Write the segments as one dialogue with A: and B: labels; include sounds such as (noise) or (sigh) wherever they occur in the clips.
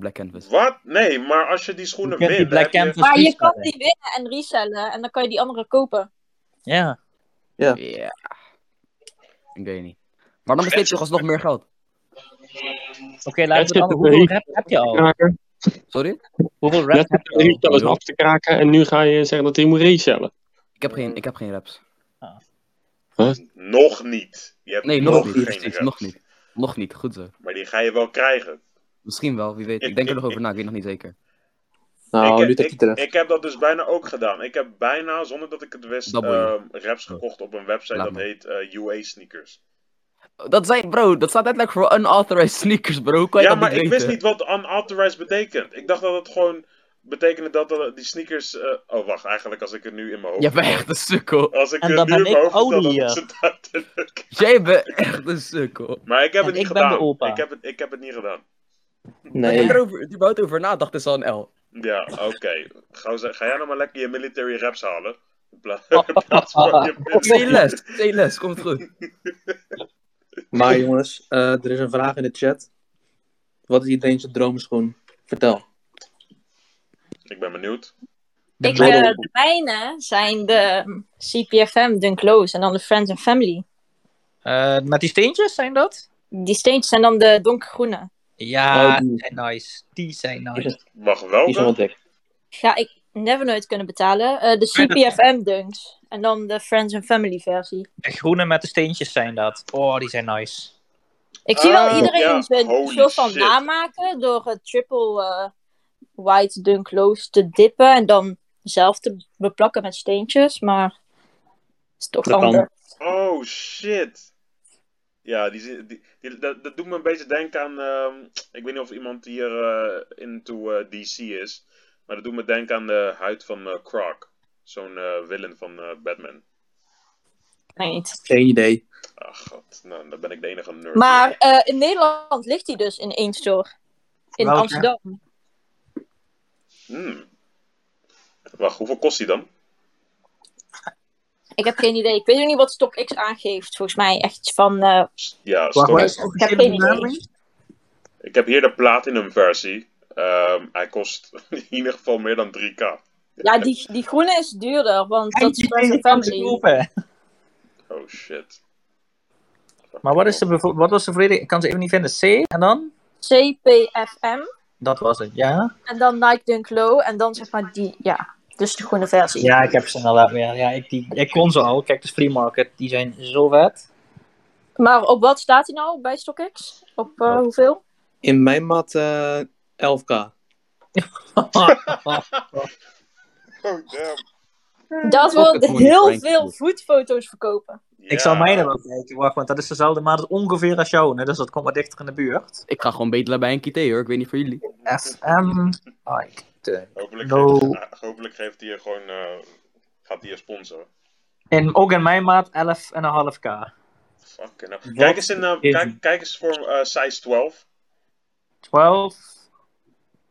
A: Black Canvas.
B: Wat? Nee, maar als je die
C: Je
B: schoenen
C: kunt die
B: wint,
C: Black
B: heb je-
C: Canvas
D: Maar je kan
C: resellen.
D: die winnen en resellen en dan kan je die andere kopen.
C: Ja.
A: Ja. Ik weet niet. Maar dan besteed je toch alsnog meer geld.
C: Oké, laten we
E: zit
C: dan...
E: er
C: Hoeveel
E: drie.
C: rap heb je al?
E: kraken.
A: Sorry?
C: Hoeveel
E: Net
C: rap
E: zitten
C: heb
E: er
C: je
E: drie
C: al?
E: tellers af te kraken en nu ga je zeggen dat hij moet resellen.
A: Ik heb geen, ik heb geen raps.
B: Nog niet. Je hebt
A: Nee, nog
B: geen
A: niet. Precies,
B: geld.
A: nog niet. Nog niet, goed zo.
B: Maar die ga je wel krijgen.
A: Misschien wel, wie weet. Ik denk er nog over na, ik weet nog niet zeker.
B: ik,
F: Nou,
B: heb,
F: nu trekt
B: ik-
F: hij terecht.
B: ik heb dat dus bijna ook gedaan. Ik heb bijna, zonder dat ik het wist,
A: Double.
B: ehm, raps gekocht op een website
A: Oh. Laat
B: dat
A: maar.
B: heet eh, UA Sneakers.
A: Dat zei, bro, dat staat letterlijk voor unauthorized sneakers, bro. Hoe kan je
B: ja,
A: dat
B: maar
A: niet
B: ik
A: weten?
B: wist niet wat unauthorized betekent. Ik dacht dat het gewoon betekende dat eh, die sneakers... eh, oh, wacht. Eigenlijk als ik het nu in mijn hoofd...
A: Jij bent echt een sukkel.
B: Als ik
C: En
B: het
C: dan
B: nu
C: ben
B: in mijn
C: ik
B: hoofd vertel, dan
C: Odie,
B: is het duidelijk.
A: Jij bent echt een sukkel.
B: Maar ik heb het
C: En
B: niet
C: ik ben de
B: gedaan.
C: opa.
B: Ik heb het, ik heb het niet gedaan.
A: Dat
F: Nee.
A: je erover, het überhaupt over nadacht is al een L.
B: Ja, oké. Gauw ze- Ga jij nou maar lekker je military raps halen. In
F: (laughs)
B: pla- in plaats van je
A: C
B: military-
A: les, C les, komt goed.
F: Maar jongens, eh, er is een vraag in de chat. Wat is iedereen zijn droomschoen? Vertel.
B: Ik ben benieuwd.
D: Ik, eh,
F: Black Canvas.
D: de mijne zijn de hm, CPFM Dunk Lows en dan de Friends and Family.
C: Eh, met die steentjes zijn dat?
D: Die steentjes zijn dan de donkergroene.
C: Ja,
F: Oh, die.
C: die zijn nice. Die zijn nice.
B: Mag
F: Die is nog wel
B: wel.
F: dik.
D: Ga ik never nooit kunnen betalen. Eh, de CPFM Dunks en dan de Friends and Family versie.
C: De groene met de steentjes zijn dat. Oh, die zijn nice.
D: Ik zie wel
B: Oh,
D: iedereen
B: ja.
D: zijn
B: Holy
D: soort van
B: shit.
D: namaken door het triple eh, white Dunk Lows te dippen en dan zelf te beplakken met steentjes, maar is toch
F: Dat kan.
D: anders.
B: Oh shit. Ja, die, zi- die, die- dat, dat doet me een beetje denken aan. ehm, ik weet niet of iemand hier eh, into eh, DC is. Maar dat doet me denken aan de huid van eh, Croc. Zo'n eh villain van eh, Batman.
D: Niet.
F: Geen idee.
B: Ah, god. Nou, dan ben ik de enige nerd.
D: Maar eh, in Nederland ligt die dus in één store. In
C: Welke?
D: Amsterdam.
B: Hmm. Wacht, hoeveel kost die dan?
D: Ik heb geen idee. Ik weet ook niet wat StockX aangeeft. Volgens mij echt iets van... eh,
B: Ja,
C: Wacht,
B: stop.
C: wacht.
D: ik heb geen idee.
B: Ik heb hier de platinum versie. Ehm, hij kost (laughs) in ieder geval meer dan 3k.
D: Ja, die, die groene is duurder, want dat is Friends and Family.
B: Oh shit.
C: Maar wat, is de bevo- wat was de volledige? Ik kan ze even niet vinden. C en dan?
D: CPFM.
C: Dat was het, ja.
D: En dan Nike Dunk Low. En dan zeg maar die... Ja, dus de groene versie.
C: Ja, ik heb ze inderdaad weer. Ja, ik, die, ik kon ze al. Kijk, de free market, die zijn zo (laughs) vet.
D: Maar op wat staat hij nou bij StockX? Op eh,
C: Ja.
D: hoeveel?
F: In mijn mat eh, 11k.
B: Oh damn.
D: Dat wil
A: Pocket money
D: heel
A: Frank.
D: veel voetfoto's verkopen.
C: Ik zal mijne wel kijken, wacht, want dat is dezelfde maat ongeveer als jouw. Hè? Dus dat komt wat dichter in de buurt.
A: Ik ga gewoon bedelen bij een kité hoor, ik weet niet voor jullie.
C: FM. Ike.
B: Hopelijk,
C: No.
B: geeft, ah, hopelijk geeft hij je gewoon. eh, gaat hij je sponsoren.
C: En ook in mijn maat 11,5k.
B: Fucking hell.
C: Wat
B: Kijk eens, in, eh,
C: is-
B: kijk, kijk eens voor eh, size 12.
C: 12,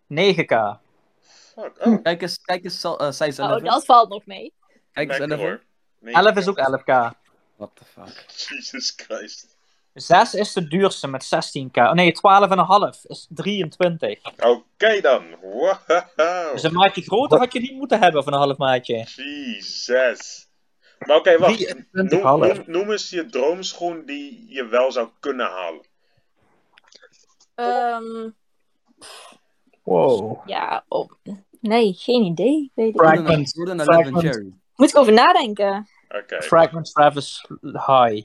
C: 9k.
B: Fuck.
C: Hm.
B: Oh,
A: Kijk eens, kijk eens, zal- eh, size 11.
D: Oh, dat valt nog mee.
A: Kijk eens
B: lekker
A: 11.
B: hoor. Nee,
C: 11 is ook 11k.
A: What the fuck.
B: (laughs) Jesus Christ.
C: 6 is de duurste met 16k. Oh nee, 12,5 is 23.
B: Oké dan. Wow.
C: Dus een maatje groter had je niet moeten hebben van een half maatje.
B: Jesus. Maar oké, wacht. Noem,
C: 23,5.
B: noem, noem eens je droomschoen die je wel zou kunnen halen.
D: Ehm,
C: Wow.
D: ja, op... Nee, geen idee. Weet ik. niet.
C: Frank.
A: Jordan
C: Fragment.
A: Jordan 11
C: Fragment.
A: Cherry.
D: Moet ik over nadenken.
B: Oké.
C: Fragment Travis High.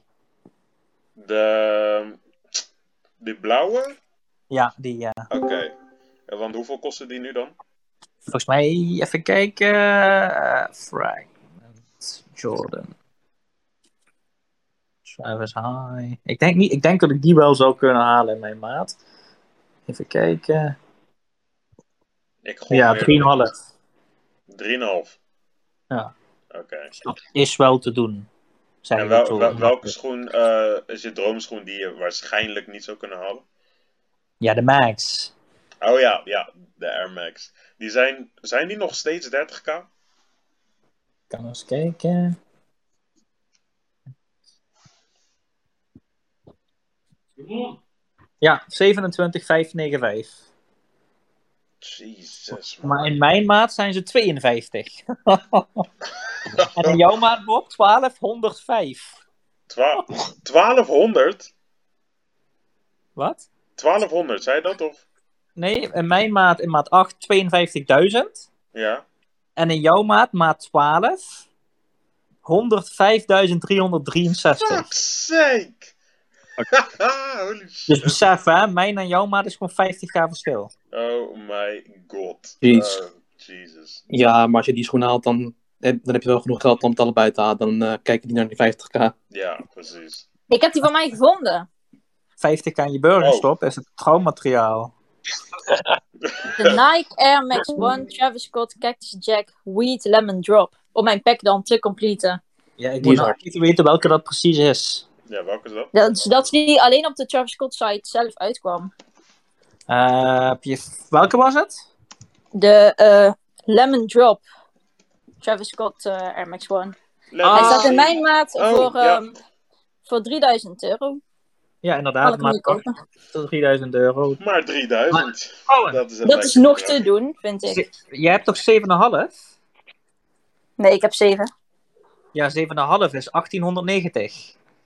B: De. Die blauwe?
C: Ja, die ja.
B: Oké. Eh, Want hoeveel kosten die nu dan?
C: Volgens mij, even kijken. eh, Fragment Jordan. Travis High. Ik denk, niet, ik denk dat ik die wel zou kunnen halen in mijn maat. Even kijken.
B: Ik gooi
C: Ja, 3,5.
B: weer- 3,5.
C: Ja.
B: Oké.
C: Dat is wel te doen. Zijn
B: En
C: we
B: wel,
C: toe.
B: wel- welke schoen eh, is je droomschoen die je waarschijnlijk niet zou kunnen halen?
C: Ja, de Max.
B: Oh ja, ja, de Air Max. Die zijn, zijn die nog steeds 30k?
C: Kan eens kijken. Ja, 27595.
B: Jezus, man.
C: Maar in mijn maat zijn ze 52. (laughs) en in jouw maat, Bob, 1205.
B: Twa- 1200?
C: Wat?
B: 1200, zei je dat of?
C: Nee, in mijn maat, in maat 8, 52.000.
B: Ja.
C: En in jouw maat, maat 12, 105.363.
B: Fuck's sake!
D: (laughs)
B: Holy
C: Dus
B: shit.
C: besef hè, mijn en jouw maat is gewoon 50k verschil.
B: Oh my god.
F: Jeez.
B: Oh, Jesus.
F: Ja, maar als je die schoen haalt, dan, heb- dan heb je wel genoeg geld om het allebei te halen. Dan eh, kijken die naar die 50k.
B: Ja, precies.
D: Ik heb die van mij gevonden.
C: 50k in je burgerstop is het trouwmateriaal.
D: De Nike Air Max One Travis Scott Cactus Jack Weed Lemon Drop. Om mijn pack dan te completen.
C: Ja, ik
F: Die
C: moet
F: is
C: nog
F: hard.
C: niet weten welke dat precies is.
B: Ja, welke is dat?
D: Dat, dat die alleen op de Travis Scott site zelf uitkwam.
C: Eh, heb je- welke was het?
D: De eh, Lemon Drop. Travis Scott eh, Air Max One.
B: Let
D: Hij
B: me
D: staat in
B: see.
D: mijn maat
B: Ah. Oh,
D: voor,
B: ja.
D: ehm, voor 3000 euro.
C: Ja,
D: Kan
C: inderdaad,
D: ik hem
C: maar
D: niet kopen.
C: 3000 euro.
B: Maar 3000. Dat is, een
D: Dat is
B: lekker
D: nog
B: bedrag.
D: te doen, vind ik.
C: Ze- Jij hebt toch 7,5?
D: Nee, ik heb 7.
C: Ja, 7,5 is 1890.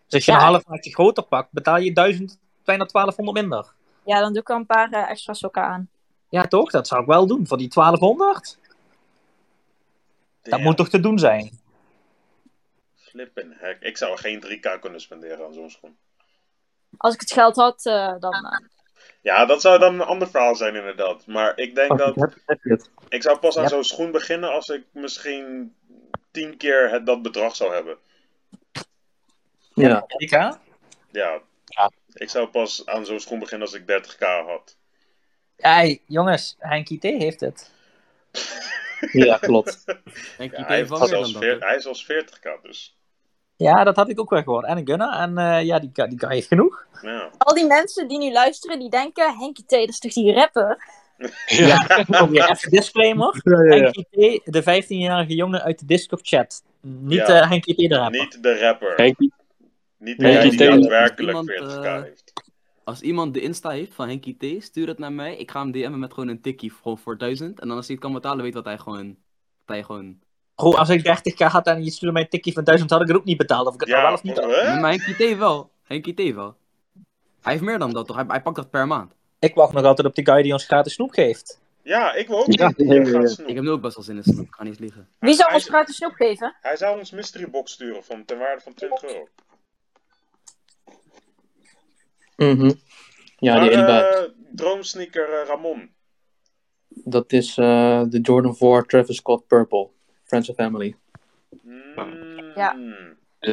C: Dus als je
D: Ja.
C: een half maatje groter pakt, betaal je 1000, bijna 1200 minder.
D: Ja, dan doe ik er een paar eh, extra sokken aan.
C: Ja, toch? Dat zou ik wel doen. Voor die 1200? Dat
B: Damn,
C: moet toch te doen zijn?
B: Flippin' heck. Ik zou geen 3k kunnen spenderen aan zo'n schoen.
D: Als ik het geld had, eh, dan. eh,
B: Ja, dat zou dan een ander verhaal zijn inderdaad. Maar ik denk dat...
F: Heb, heb je het?
B: Ik zou pas aan
C: Ja.
B: zo'n schoen beginnen als ik misschien tien keer het, dat bedrag zou hebben.
F: Ja.
C: Ja.
B: Ja.
E: Ja.
B: Ik zou pas aan zo'n schoen beginnen als ik 30k had.
C: Hey, jongens, Henkie T heeft het.
F: ja,
B: (laughs)
F: klopt.
A: Denk
B: Ja,
A: je ja,
B: hij, heeft
A: van meer dan
B: zelfs
A: dat.
B: veer-
A: hè?
B: hij is als 40k dus.
C: Ja, dat had ik ook wel gehoord. En een gunner. En eh, ja, die, guy- die guy heeft genoeg.
B: Ja.
D: Al die mensen die nu luisteren, die denken: Henkie T, dat is toch die rapper?
E: Ja.
C: Oh, ja, even disclaimer. Henkie T, de 15-jarige jongen uit de Discord-chat. Niet
B: Ja.
C: eh Henkie T de rapper.
B: Niet de rapper.
E: Henkie,
B: Niet de
E: Nee,
B: guy
E: die
B: die
E: tegen-
B: daadwerkelijk
A: iemand,
B: 40k
A: eh,
B: heeft.
A: Als iemand de Insta heeft van Henkie T, stuur het naar mij. Ik ga hem DM'en met gewoon een tikkie voor, voor 1000. En dan als hij het kan betalen, weet wat hij gewoon... Wat hij gewoon...
C: Bro, als ik 30k had en je stuurde mij een tikkie van 1000, had ik het ook niet betaald. Of ik het nou
B: Ja,
C: wel of niet had.
B: hè?
A: Nee, maar Henkie T wel. Henkie T wel. Hij heeft meer dan dat toch? Hij, hij pakt dat per maand.
C: Ik wacht nog altijd op die guy die ons gratis snoep geeft.
B: ja, ik wil ook
E: Ja,
B: niet.
E: ja, ja,
B: Je gaat
A: Ik
E: ja.
B: snoep.
A: heb nu ook best wel zin in snoep. Ik ga niet liegen.
D: Wie zou ons
B: Hij-
D: gratis snoep geven?
B: Hij zou ons mystery box sturen van ten waarde van 20 euro.
F: Mhm. Ja,
B: maar
F: die ene guy.
B: eh, droomsneaker eh, Ramon.
F: Dat is eh, de Jordan 4 Travis Scott Purple. Friends and Family.
B: Mm.
D: Ja.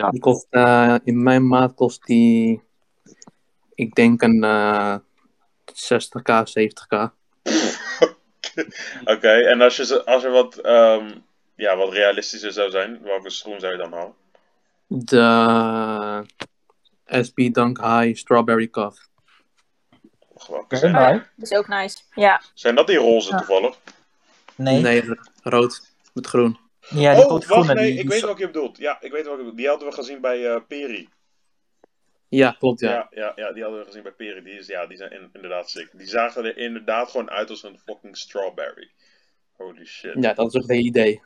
F: Die kost, eh, in mijn maat kost die, ik denk een eh, 60k, 70k.
B: Oké, en als, je, ze- als er wat, ehm, ja, wat realistischer zou zijn, welke schoen zou je dan halen?
F: De SB Dunk High Strawberry Cuff.
B: Och, welke zijn,
D: nice. Dat is ook nice. Ja.
B: zijn dat die roze toevallig?
C: Nee.
F: Nee, rood met groen.
C: Ja, die
B: oh,
C: komt
B: wacht,
C: groene.
B: nee,
C: die-
B: ik weet wat je bedoelt. Ja, ik weet wat je bedoelt. Die hadden we gezien bij eh, Peri.
F: Ja, klopt
B: Ja.
F: ja.
B: Ja, ja, die hadden we gezien bij Peri. Die, is, ja, die zijn in- inderdaad sick. Die zagen er inderdaad gewoon uit als een fucking strawberry. Holy shit.
F: Ja, dat is ook het hele idee.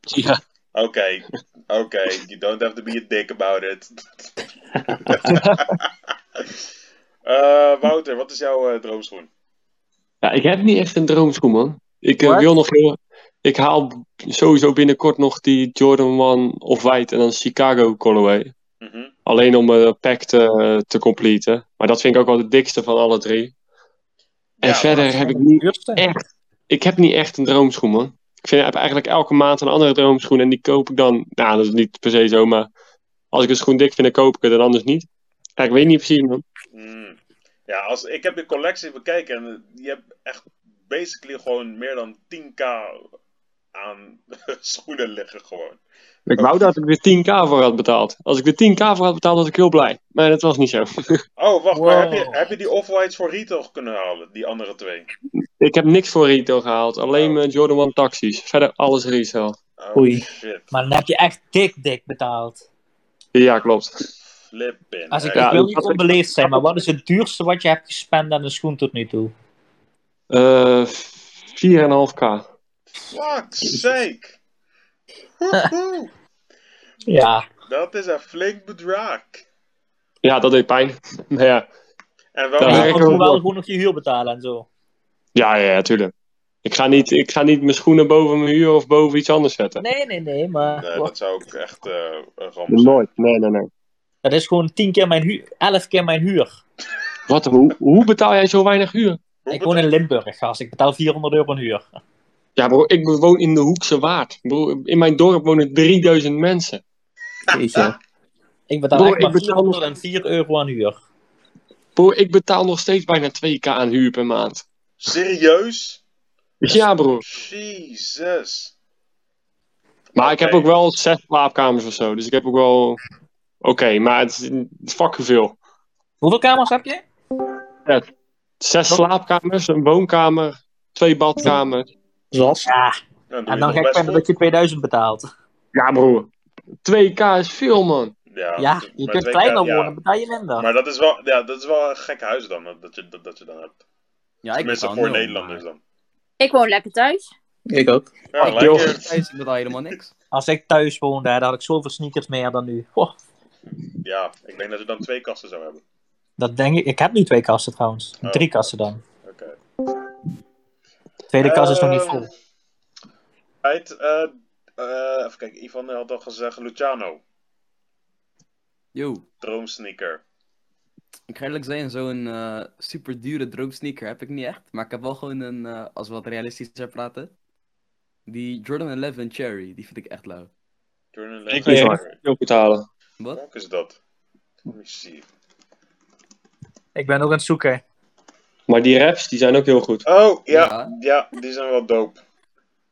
E: ja.
B: Oké, oké. You don't have to be a dick about it. Eh, Wouter, wat is jouw eh, droomschoen?
E: ja, ik heb niet echt een droomschoen, man. Ik eh,
C: Wat?
E: wil nog heel... Ik haal sowieso binnenkort nog die Jordan 1 of White en dan Chicago colorway.
B: Mhm.
E: Alleen om mijn pack te, eh, te completen. Maar dat vind ik ook wel de dikste van alle drie. En
B: Ja,
E: verder heb ik
C: de
E: niet
C: duurste.
E: echt... Ik heb niet echt een droomschoen, man. Ik vind, ik heb eigenlijk elke maand een andere droomschoen. En die koop ik dan... Nou, dat is niet per se zo, maar... Als ik een schoen dik vind, dan koop ik het en anders niet. Ja, ik weet niet precies, man.
B: Mm. Ja, als, ik heb je collectie bekeken en eh, je hebt echt basically gewoon meer dan 10k aan (laughs) schoenen liggen gewoon.
E: Ik wou dat ik er 10k voor had betaald. Als ik er 10k voor had betaald, was ik heel blij. Maar dat was niet zo.
B: Oh, wacht, maar heb
C: Wow.
B: je, heb je die off-whites voor retail kunnen halen, die andere twee?
E: Ik heb niks voor retail gehaald. Alleen mijn Jordan 1 taxis. Verder alles resale.
B: Oh
F: Oei.
B: shit,
C: Maar dan heb je echt dik, dik betaald.
E: Ja, klopt.
B: flippin.
C: Als ik,
B: heck.
E: Ja,
C: ik wil
E: dat
C: niet
E: had ik-
C: onbeleefd zijn, maar wat is het duurste wat je hebt gespend aan een schoen tot nu toe?
E: Eh, 4,5k.
B: Fuck's sake. Woehoe.
C: Ja.
B: Dat is een flink bedrag.
E: Ja, dat deed pijn. (laughs) Maar ja,
B: En wel
E: Ja,
C: Maar
E: maar
C: je
E: ik
C: moet
E: ook
C: wel
E: wel.
C: gewoon nog je huur betalen en zo.
E: ja, ja, ja, tuurlijk. Ik ga, niet, ik ga niet mijn schoenen boven mijn huur of boven iets anders zetten.
C: Nee, nee, nee, maar
B: Nee, dat zou ook echt eh een ramp zijn.
E: Nooit. Nee, nee, nee.
C: dat is gewoon 10 keer mijn huur, 11 keer mijn huur.
E: Wat, hoe, hoe betaal jij zo weinig huur?
B: Hoe
C: Ik woon in
B: betaal-
C: Limburg, gast. Ik betaal 400 euro een huur.
E: Ja, bro, ik woon in de Hoekse Waard. Bro, in mijn dorp wonen 3000 mensen.
F: Jeetje.
C: Ik betaal
E: Bro,
C: echt maar
E: ik betaal nog-
C: 404 euro aan huur.
E: Bro, ik betaal nog steeds bijna 2k aan huur per maand.
B: Serieus?
E: Ja, bro.
B: Jezus.
E: Maar ik heb
B: Oké.
E: ook wel zes slaapkamers of zo. Dus ik heb ook wel... Oké, maar het is, het is fucking veel.
C: Hoeveel kamers heb je?
E: Zes slaapkamers, een woonkamer, twee badkamers.
F: (laughs) Zoals?
C: Ja,
B: Nou, doe
C: en
B: je
C: dan
B: nog
C: ga ik
B: best
C: verder
B: goed.
C: dat je 2000 betaalt.
E: Ja, broer. 2k is veel, man.
B: Ja,
C: Ja,
B: d-
C: je
B: maar
C: kunt
B: twee
C: kleiner
B: keer- ja.
C: wonen, betaal je minder.
B: Maar dat is, wel, ja, dat is wel een gek huis dan, dat, dat je, dat, dat je dan hebt.
A: Ja, ik
B: Tenminste
A: betaal
B: voor
A: nul,
B: Nederlanders dan.
D: Ik woon lekker thuis.
F: Ik ook.
B: Ja,
E: Ach,
B: lekker.
E: joh.
A: maar Ik betaal helemaal niks.
C: Als ik thuis woonde, hè, dan had ik zoveel sneakers meer dan nu. Ho,
B: Ja, ik denk dat je dan twee kasten zou hebben.
C: dat denk ik. Ik heb nu twee kasten trouwens.
B: Oh.
C: Drie kasten dan.
B: Oké.
C: De tweede kast is nog niet
B: Ehm,
C: vol.
B: Uit, eh, eh, even kijken, Ivan had al gezegd Luciano,
A: Yo.
B: droomsneaker.
A: Ik ga eerlijk zijn, zo'n eh super dure droomsneaker heb ik niet echt. Maar ik heb wel gewoon een, eh, als we wat realistischer praten. Die Jordan 11 Cherry, die vind ik echt lauw.
B: Jordan
E: Ik
B: Leather.
E: weet waar. Veel betalen.
A: Wat?
B: Welk is dat? Let me see.
C: Ik ben ook aan het zoeken.
E: Maar die raps, die zijn ook heel goed.
B: Oh, ja, ja.
A: Ja.
B: die zijn wel dope.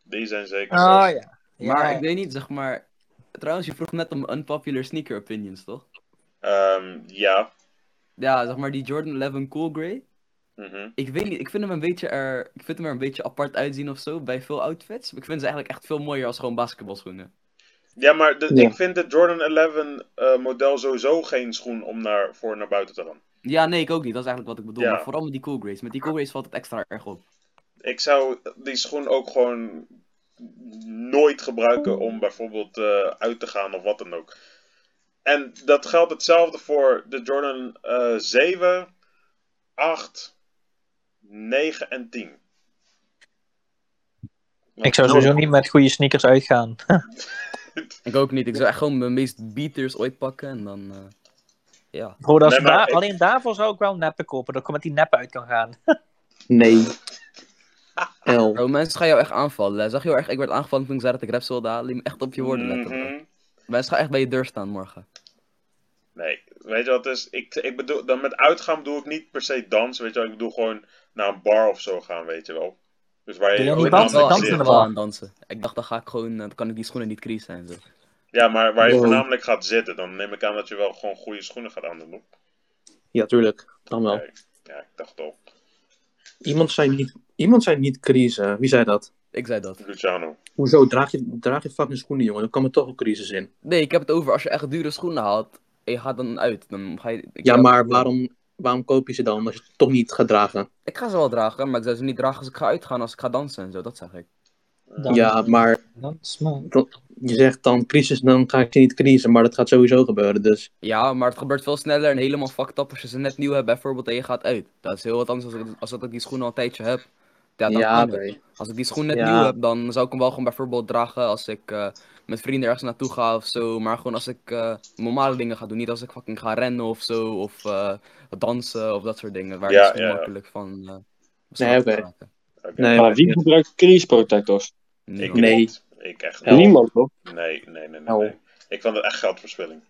B: Die zijn zeker
C: Oh
E: Ah,
B: dope.
C: ja.
A: Maar ik weet niet, zeg maar. Trouwens, je vroeg net om unpopular sneaker opinions, toch?
B: Ehm, ja.
A: Ja, zeg maar die Jordan 11 Cool Grey.
B: mhm.
A: Ik weet niet, ik vind hem een beetje er, ik vind hem er een beetje apart uitzien of zo bij veel outfits. Maar ik vind ze eigenlijk echt veel mooier als gewoon basketbalschoenen.
B: Ja, maar de-
E: Ja.
B: ik vind de Jordan 11 eh, model sowieso geen schoen om naar, voor naar buiten te gaan.
A: Ja, nee, ik ook niet. Dat is eigenlijk wat ik bedoel.
B: Ja.
A: Maar vooral met die Cool Greys. Met die Cool Greys valt het extra erg op.
B: Ik zou die schoen ook gewoon nooit gebruiken om bijvoorbeeld eh, uit te gaan of wat dan ook. En dat geldt hetzelfde voor de Jordan eh 7, 8, 9 en 10.
C: Ik zou sowieso niet met goede sneakers uitgaan.
A: Ik ook niet. Ik zou echt gewoon mijn meest beaters ooit pakken en dan. eh, Ja.
C: Bro, dat is
B: Nee, maar
C: daar-
B: ik-
C: Alleen daarvoor zou ik wel neppen kopen, dat ik er met die neppen uit kan gaan.
F: Nee. L.
A: Bro, mensen gaan jou echt aanvallen. hè. Zag je wel echt, ik werd aangevallen toen ik zei dat ik rap wilde halen. Liet me echt op je woorden letten. bro.
B: Mhm.
A: Mensen gaan echt bij je deur staan morgen.
B: Nee, weet je wat het is? Ik, ik bedoel, dan met uitgaan bedoel ik niet per se dans, weet je wel. Ik bedoel gewoon naar een bar of zo gaan, weet je wel. Dus waar je
C: Doe jij
B: ook
C: niet
A: ik
B: aan
A: dacht
C: dansen?
A: wel,
B: zit.
C: Dansen
A: ik dacht
C: normaal.
A: wel aan dansen. Ik dacht, dan ga ik gewoon, eh, dan kan ik die schoenen niet creasen en zo.
B: Ja, maar waar je
F: Wow.
B: voornamelijk gaat zitten, dan neem ik aan dat je wel gewoon goede schoenen gaat aandoen.
F: Ja, tuurlijk. Dan wel.
B: Nee. Ja, ik dacht al.
F: Iemand zei niet, iemand zei niet crisis. Wie zei dat?
A: Ik zei dat.
B: Luciano.
F: Hoezo? Draag je, draag je fucking schoenen, jongen. Dan komen toch een crisis in.
A: Nee, ik heb het over als je echt dure schoenen haalt. En je gaat dan uit. Dan ga je, ik
F: Ja,
A: zou-
F: maar waarom, waarom koop je ze dan als je het toch niet gaat dragen?
A: Ik ga ze wel dragen, maar ik zou ze niet dragen als ik ga uitgaan, als ik ga dansen en zo. Dat zeg ik.
F: Ja, maar
C: Dat is man.
F: je zegt dan crisis, dan ga ik je niet crisis. Maar dat gaat sowieso gebeuren. Dus
A: Ja, maar het gebeurt veel sneller en helemaal fucked up als je ze net nieuw hebt bijvoorbeeld en je gaat uit. Dat is heel wat anders als, ik- als dat ik die schoenen al een tijdje heb. Ja, dan
F: ja,
A: kan het.
F: nee.
A: Als ik die schoen net
F: Ja.
A: nieuw heb, dan zou ik hem wel gewoon bijvoorbeeld dragen als ik eh, met vrienden ergens naartoe ga of zo. Maar gewoon als ik eh, normale dingen ga doen. Niet als ik fucking ga rennen of zo. Of eh, dansen of dat soort dingen. Waar
B: Ja,
A: je schoen
B: ja, ja.
A: makkelijk van eh
F: Nee, oké.
A: raken.
B: Oké.
F: Nee,
E: Maar wie
F: nee.
E: gebruikt crease protectors?
B: Ik
A: Niemand.
F: Nee.
B: niet. Ik echt niet.
F: Hel.
E: Niemand, toch?
B: Nee, nee, nee, nee.
F: Hel.
B: nee. Ik vond het echt geldverspilling.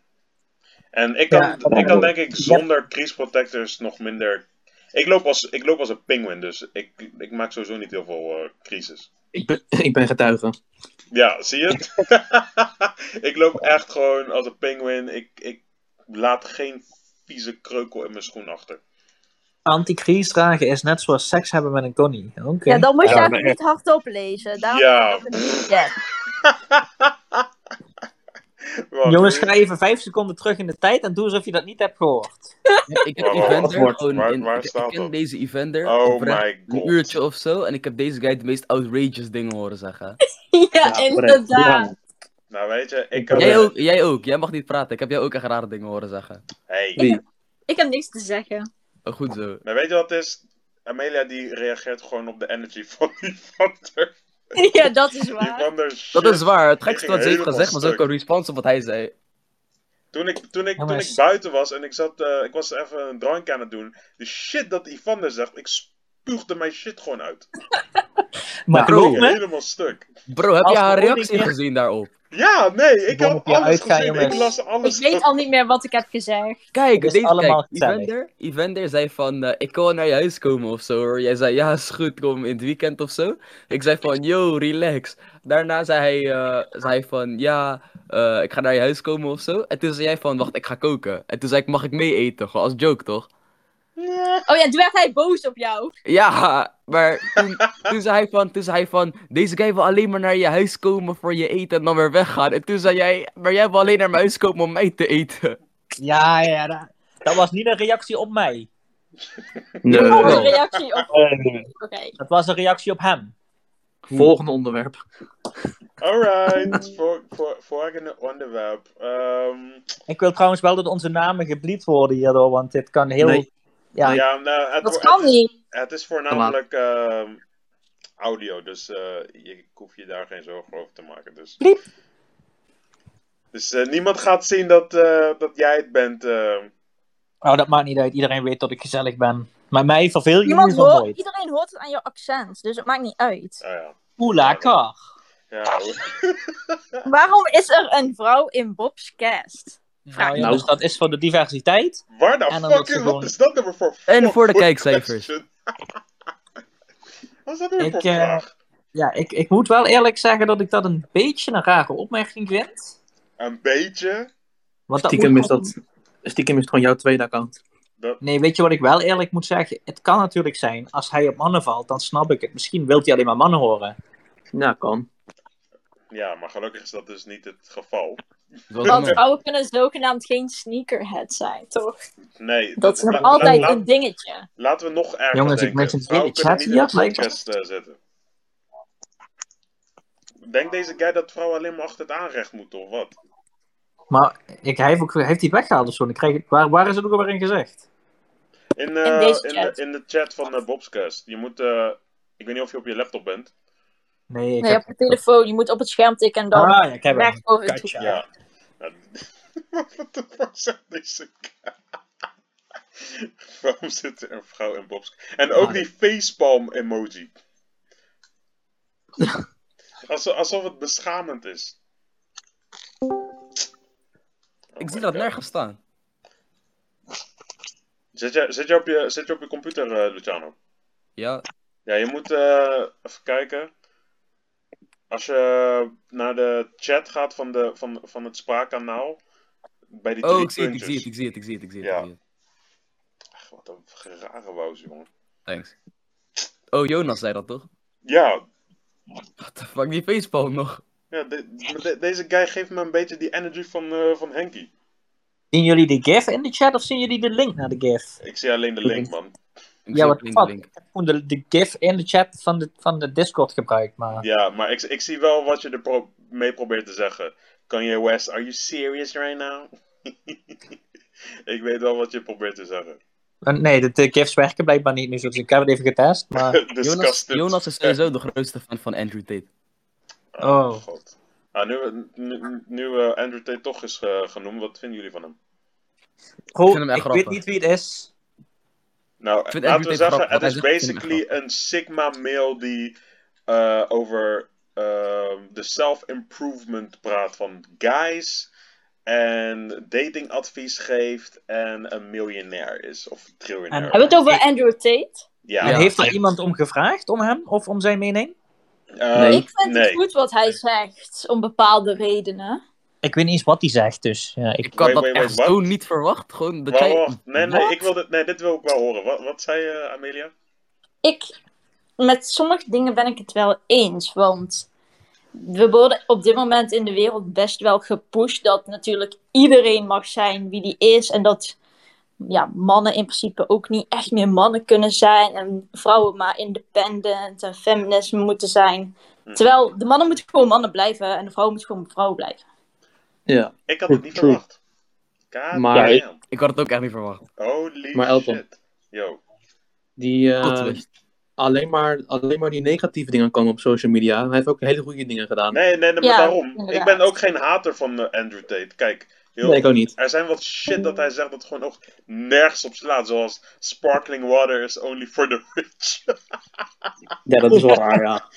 B: En ik kan,
C: Ja,
B: ik kan
E: klopt.
B: denk ik zonder crease protectors nog minder... Ik loop als, ik loop als een penguin, dus ik, ik maak sowieso niet heel veel eh crisis.
F: ik ben, (laughs) ik ben getuige.
B: Ja, zie je (laughs) het? ik loop echt gewoon als een penguin. Ik, ik laat geen vieze kreukel in mijn schoen achter.
C: Anticrease dragen is net zoals seks hebben met een connie. Oké.
D: Ja, dan moet je
E: Ja,
D: eigenlijk
E: maar
D: niet hardop lezen. Daarom
B: Ja.
D: dat ik het niet zeg.
B: Wacht,
C: Jongens,
B: hoe-
C: ga even vijf seconden terug in de tijd en doe alsof je dat niet hebt gehoord.
A: Ik heb
B: Waar- waar-
A: Evander
F: waar-
A: gewoon
B: waar-
A: in-
B: waar
A: ik- ik
B: staat
A: ken
B: dat?
A: deze Evander
B: Oh
A: oprecht
B: my
A: een
B: god.
A: uurtje of zo en ik heb deze guy de meest outrageous dingen horen zeggen.
D: Ja,
F: correct.
D: inderdaad.
B: Nou weet je, ik
F: Ik
B: kan...
F: heb-
A: Jij ook, jij ook, jij mag niet praten. Ik heb jou ook echt rare dingen horen zeggen.
B: Hey.
F: Wie?
D: Ik heb niks te zeggen.
A: Oh, Goed zo.
B: Maar weet je wat het is? Amelia die reageert gewoon op de energy (laughs) van die vander.
D: (laughs) ja, dat is
B: Die
D: waar.
B: vander
A: Dat is waar. Het gekste
B: ging
A: wat ze heeft
B: helemaal
A: gezegd was ook
B: stuk.
A: een response op wat hij zei.
B: Toen ik, toen ik, toen
C: Jongens.
B: ik buiten was en ik, zat, eh, ik was even een drankje aan het doen. De shit dat die vander zegt, ik spuugde mijn shit gewoon uit.
C: Maar
F: Ja,
C: geloof
B: Ik
C: me,
B: helemaal stuk.
A: Bro, heb
C: Als
A: je
C: we
A: haar
C: ooit een
A: reactie
C: keer-
A: gezien daarop?
B: Ja, nee, ik
C: Bom
B: had
C: op je
B: alles
C: uitgaan,
B: gezien. Ik
C: jongens.
B: las
D: Ik
B: alles.
D: weet al niet meer wat ik heb gezegd.
A: Kijk,
C: Het is
A: deze,
C: allemaal
A: kijk
C: gezellig.
A: Evander, Evander zei van, eh, ik kan wel naar je huis komen of zo hoor. Jij zei, ja is goed, kom in het weekend of zo. Ik zei van, yo, relax. Daarna zei hij, eh, zei hij van, ja, eh, ik ga naar je huis komen of zo. En toen zei jij van, wacht, ik ga koken. En toen zei ik, mag ik mee eten? Gewoon als joke, toch?
D: Oh ja, toen werd hij boos op jou.
A: Ja, maar toen, toen zei hij van, toen zei hij van, deze guy wil alleen maar naar je huis komen voor je eten en dan weer weggaan. En toen zei jij, maar jij wil alleen naar mijn huis komen om mij te eten.
C: Ja, ja, dat, dat was niet een reactie op mij.
D: Oh,
F: Nee.
D: een reactie op. Oké.
C: Dat was een reactie op hem.
F: Volgende onderwerp.
B: Alright, voor, voor, volgende onderwerp. Ehm,
C: Ik wil trouwens wel dat onze namen gebliet worden hierdoor, want dit kan heel...
F: Nee.
C: Ja,
F: Nee.
B: ja, nou, het,
D: Dat
B: wo-
D: kan
B: het, is,
D: niet.
B: het is voornamelijk ehm, audio, dus eh, je, ik hoef je daar geen zorgen over te maken. Dus,
C: Bliep.
B: dus eh, niemand gaat zien dat, eh, dat jij het bent. eh.
C: oh, dat maakt niet uit. Iedereen weet dat ik gezellig ben. Maar mij verveel je
D: Niemand
C: niet zo
D: hoort,
C: nooit.
D: iedereen hoort het aan jouw accent, dus het maakt niet uit.
B: Oh ja.
C: Oeh, lekker.
D: Ah.
B: ja. hoe- (laughs)
D: Waarom is er een vrouw in Bob's cast?
C: Nou,
D: Nou.
C: jongens, dat is voor de diversiteit.
B: Waar de
C: En dan dat ze
B: fuck is,
C: gewoon-
B: wat is dat nummer voor?
A: En voor de
B: fuck
A: kijkcijfers.
B: question? (laughs) wat is dat nummer
C: Ik,
B: voor
C: eh,
B: vraag?
C: Ja, ik, ik moet wel eerlijk zeggen dat ik dat een beetje een rare opmerking vind.
B: Een beetje.
C: Want dat
F: Stiekem
C: moet
F: is,
C: gewoon-
F: dat, stiekem is het gewoon jouw tweede account.
B: Dat,
C: Nee, weet je wat ik wel eerlijk moet zeggen? Het kan natuurlijk zijn, als hij op mannen valt, dan snap ik het. Misschien wilt hij alleen maar mannen horen.
F: Ja, kan.
B: ja, maar gelukkig is dat dus niet het geval.
D: Want vrouwen kunnen zogenaamd geen sneakerhead zijn, toch?
B: Nee.
D: Dat is nog
B: la-
D: altijd
B: la-
D: een dingetje.
B: Laten we nog erger
C: Jongens, ik
B: denken.
C: merk dat
B: Vrouwen
C: jullie
B: kunnen
C: chat
B: niet in de
C: hier lijkt-
B: podcast eh, zitten. Denkt deze guy dat vrouwen alleen maar achter het aanrecht moeten, of wat?
C: Maar ik, hij, heeft ook, heeft hij het weggehaald of zo? Ik krijg, waar, waar is het ook alweer in gezegd?
B: In, eh, in,
D: deze
B: de,
D: chat.
B: in de chat van eh, Bobscast. Je moet... eh, ik weet niet of je op je laptop bent.
C: Nee, ik
D: Nee,
C: heb...
D: op de telefoon, je moet op het scherm tikken en dan
C: Ah, ja, ik heb hem.
D: recht over
C: Katja.
D: het toestel.
B: Ja. (laughs) Nou, Wat de fuck zegt deze guy? (laughs) Waarom zit er een vrouw in Bobscast? En ook
C: Ah,
B: die
A: (laughs)
B: facepalm emoji. Alsof, alsof het beschamend is. Oh
A: Ik zie
B: my
A: dat
B: God.
A: nergens staan.
B: Zit je, zit je, op, je, zit je op je computer, eh, Luciano?
A: Ja,
B: Ja, je moet eh, even kijken. Als je naar de chat gaat van, de, van, van het spraakkanaal, bij die
A: oh,
B: drie
A: ik zie het, ik
B: puntjes.
A: zie het, ik zie het, ik zie het, ik zie het.
B: Ja.
A: ik zie het.
B: Ach, wat een rare wauws, jongen.
A: Thanks. Oh, Jonas zei dat toch?
B: Ja,
A: What the fuck, die facepalm nog.
B: ja de- maar de- deze guy geeft me een beetje die energy van, eh, van Henky.
C: Zien jullie de gif in de chat of zien jullie de link naar de gif?
B: Ik zie alleen de link, man.
A: Ik
C: Ja,
A: zie
C: wat
A: het in de
C: fuck.
A: link.
C: Ik heb gewoon de, de gif in de chat van de, van de Discord gebruikt, maar...
B: Ja, maar ik, ik zie wel wat je er pro- mee probeert te zeggen. Kanye West, are you serious right now? (laughs) ik weet wel wat je probeert te zeggen. (laughs)
C: Eh, Nee, de, de gifs werken blijkbaar niet nu. Dus ik heb het even getest, maar...
A: Jonas,
B: Disgusted.
A: Jonas is sowieso de grootste fan van Andrew Tate.
C: Oh.
B: God. Ah, nu nu, nu eh, Andrew Tate toch is eh, genoemd, wat vinden jullie van hem?
C: Goh,
A: Ik
C: ik
A: vind hem echt
C: weet
A: grappig.
C: niet wie het is.
B: Nou,
A: vind
B: laten
A: Andrew Tate
B: we zeggen,
A: grappig,
B: het
A: want
B: is
A: hij zegt- ik vind hem
B: basically een Sigma-mail die eh, over ehm, de self-improvement praat van guys. En datingadvies geeft en een miljonair is. Of triljonair.
C: En-
D: Hebben we het over Andrew Tate?
B: Ja.
C: En
A: Ja.
C: heeft er iemand om gevraagd, om hem, of om zijn mening?
B: Eh,
F: Nee.
D: Ik vind het goed wat hij zegt, om bepaalde redenen.
C: Ik weet niet eens wat hij zegt, dus... Ja, ik...
A: Ik had
B: Wait,
A: dat
B: wait, wait,
A: echt
B: what?
A: zo niet verwacht. Gewoon dat
B: Wacht,
A: jij...
B: wacht. Nee, nee,
A: Wat?
B: ik wil dit, nee, dit wil ik wel horen. Wat, wat zei je, Amelia?
D: Ik, met sommige dingen ben ik het wel eens, want we worden op dit moment in de wereld best wel gepusht dat natuurlijk iedereen mag zijn wie die is. En dat ja, mannen in principe ook niet echt meer mannen kunnen zijn. En vrouwen maar independent en feminist moeten zijn. Terwijl de mannen moeten gewoon mannen blijven en de vrouwen moeten gewoon vrouwen blijven.
F: Ja.
B: Ik had het niet
E: True.
B: verwacht. God
F: Maar-
B: damn.
A: Ik had het ook echt niet verwacht.
B: Holy
F: Maar Elton.
B: shit. Yo.
F: Die, eh,
A: Plot twist.
F: alleen, maar, alleen maar die negatieve dingen komen op social media. Hij heeft ook hele goede dingen gedaan. Nee,
B: Nee, nee, nee, maar
D: Ja,
B: daarom. Ik
D: inderdaad.
B: ben ook geen hater van eh, Andrew Tate. Kijk, heel,
F: ik ook niet.
B: er zijn wat shit dat hij zegt dat gewoon ook nergens op slaat. Zoals sparkling water is only for the rich. (laughs)
C: Ja, dat is wel raar, ja.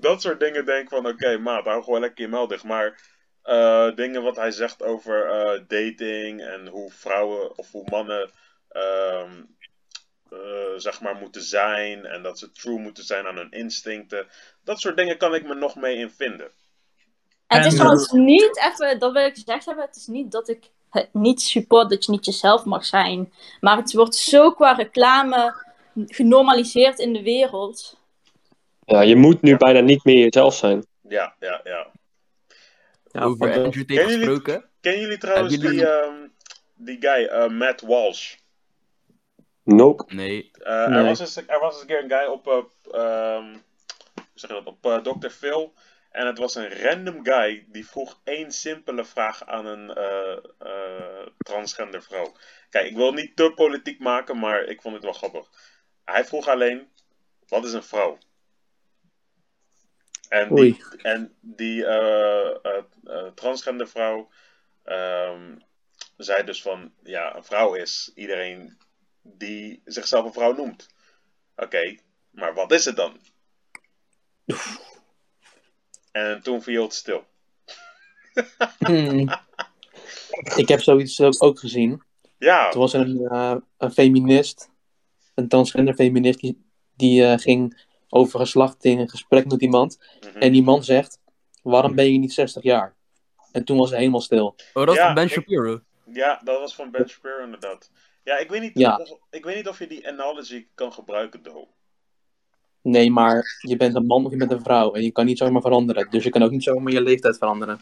B: dat soort dingen denk ik van, oké, maat, hou gewoon lekker je meld dicht. Maar eh, dingen wat hij zegt over eh, dating en hoe vrouwen of hoe mannen, ehm, eh, zeg maar, moeten zijn. En dat ze true moeten zijn aan hun instincten. Dat soort dingen kan ik me nog mee in vinden.
D: En het is
F: En-
D: trouwens niet even, dat wil ik gezegd hebben, het is niet dat ik het niet support dat je niet jezelf mag zijn. Maar het wordt zo qua reclame genormaliseerd in de wereld.
E: Ja, je moet nu bijna niet meer jezelf zijn.
B: Ja, ja, ja.
F: Ja,
A: Over
F: want, eh,
A: Andrew Tate
B: Kennen jullie-
A: gesproken.
B: Kennen jullie trouwens
A: Hebben jullie-
B: die, ehm, die guy, eh, Matt Walsh?
E: Nope.
A: Nee.
B: Eh, er,
F: Nee.
B: was eens, er was eens een keer een guy op, eh, ehm, hoe zeg je dat, op eh, Dr. Phil. En het was een random guy die vroeg één simpele vraag aan een eh, eh, transgender vrouw. Kijk, ik wil het niet te politiek maken, maar ik vond het wel grappig. Hij vroeg alleen, wat is een vrouw? En die,
F: Oei.
B: en die eh, eh, eh, transgender vrouw ehm, zei dus van, ja, een vrouw is iedereen die zichzelf een vrouw noemt. Oké, maar wat is het dan? En toen viel het stil.
F: (laughs) Hmm. Ik heb zoiets ook- ook gezien.
B: Ja,
F: Er was een, eh, een feminist, een transgender feminist, die, die eh, ging over geslacht in een gesprek met iemand.
B: mhm.
F: En die man zegt, waarom ben je niet 60 jaar? En toen was ze helemaal stil.
A: Oh, dat is
B: Ja,
A: van Ben
B: ik-
A: Shapiro.
B: ja dat was van Ben Shapiro inderdaad. Ja, ik weet, niet
F: Ja.
B: Of, ik weet niet of je die analogy kan gebruiken, Do.
F: Nee, maar je bent een man of je bent een vrouw. En je kan niet zomaar veranderen. Dus je kan ook niet zomaar je leeftijd veranderen.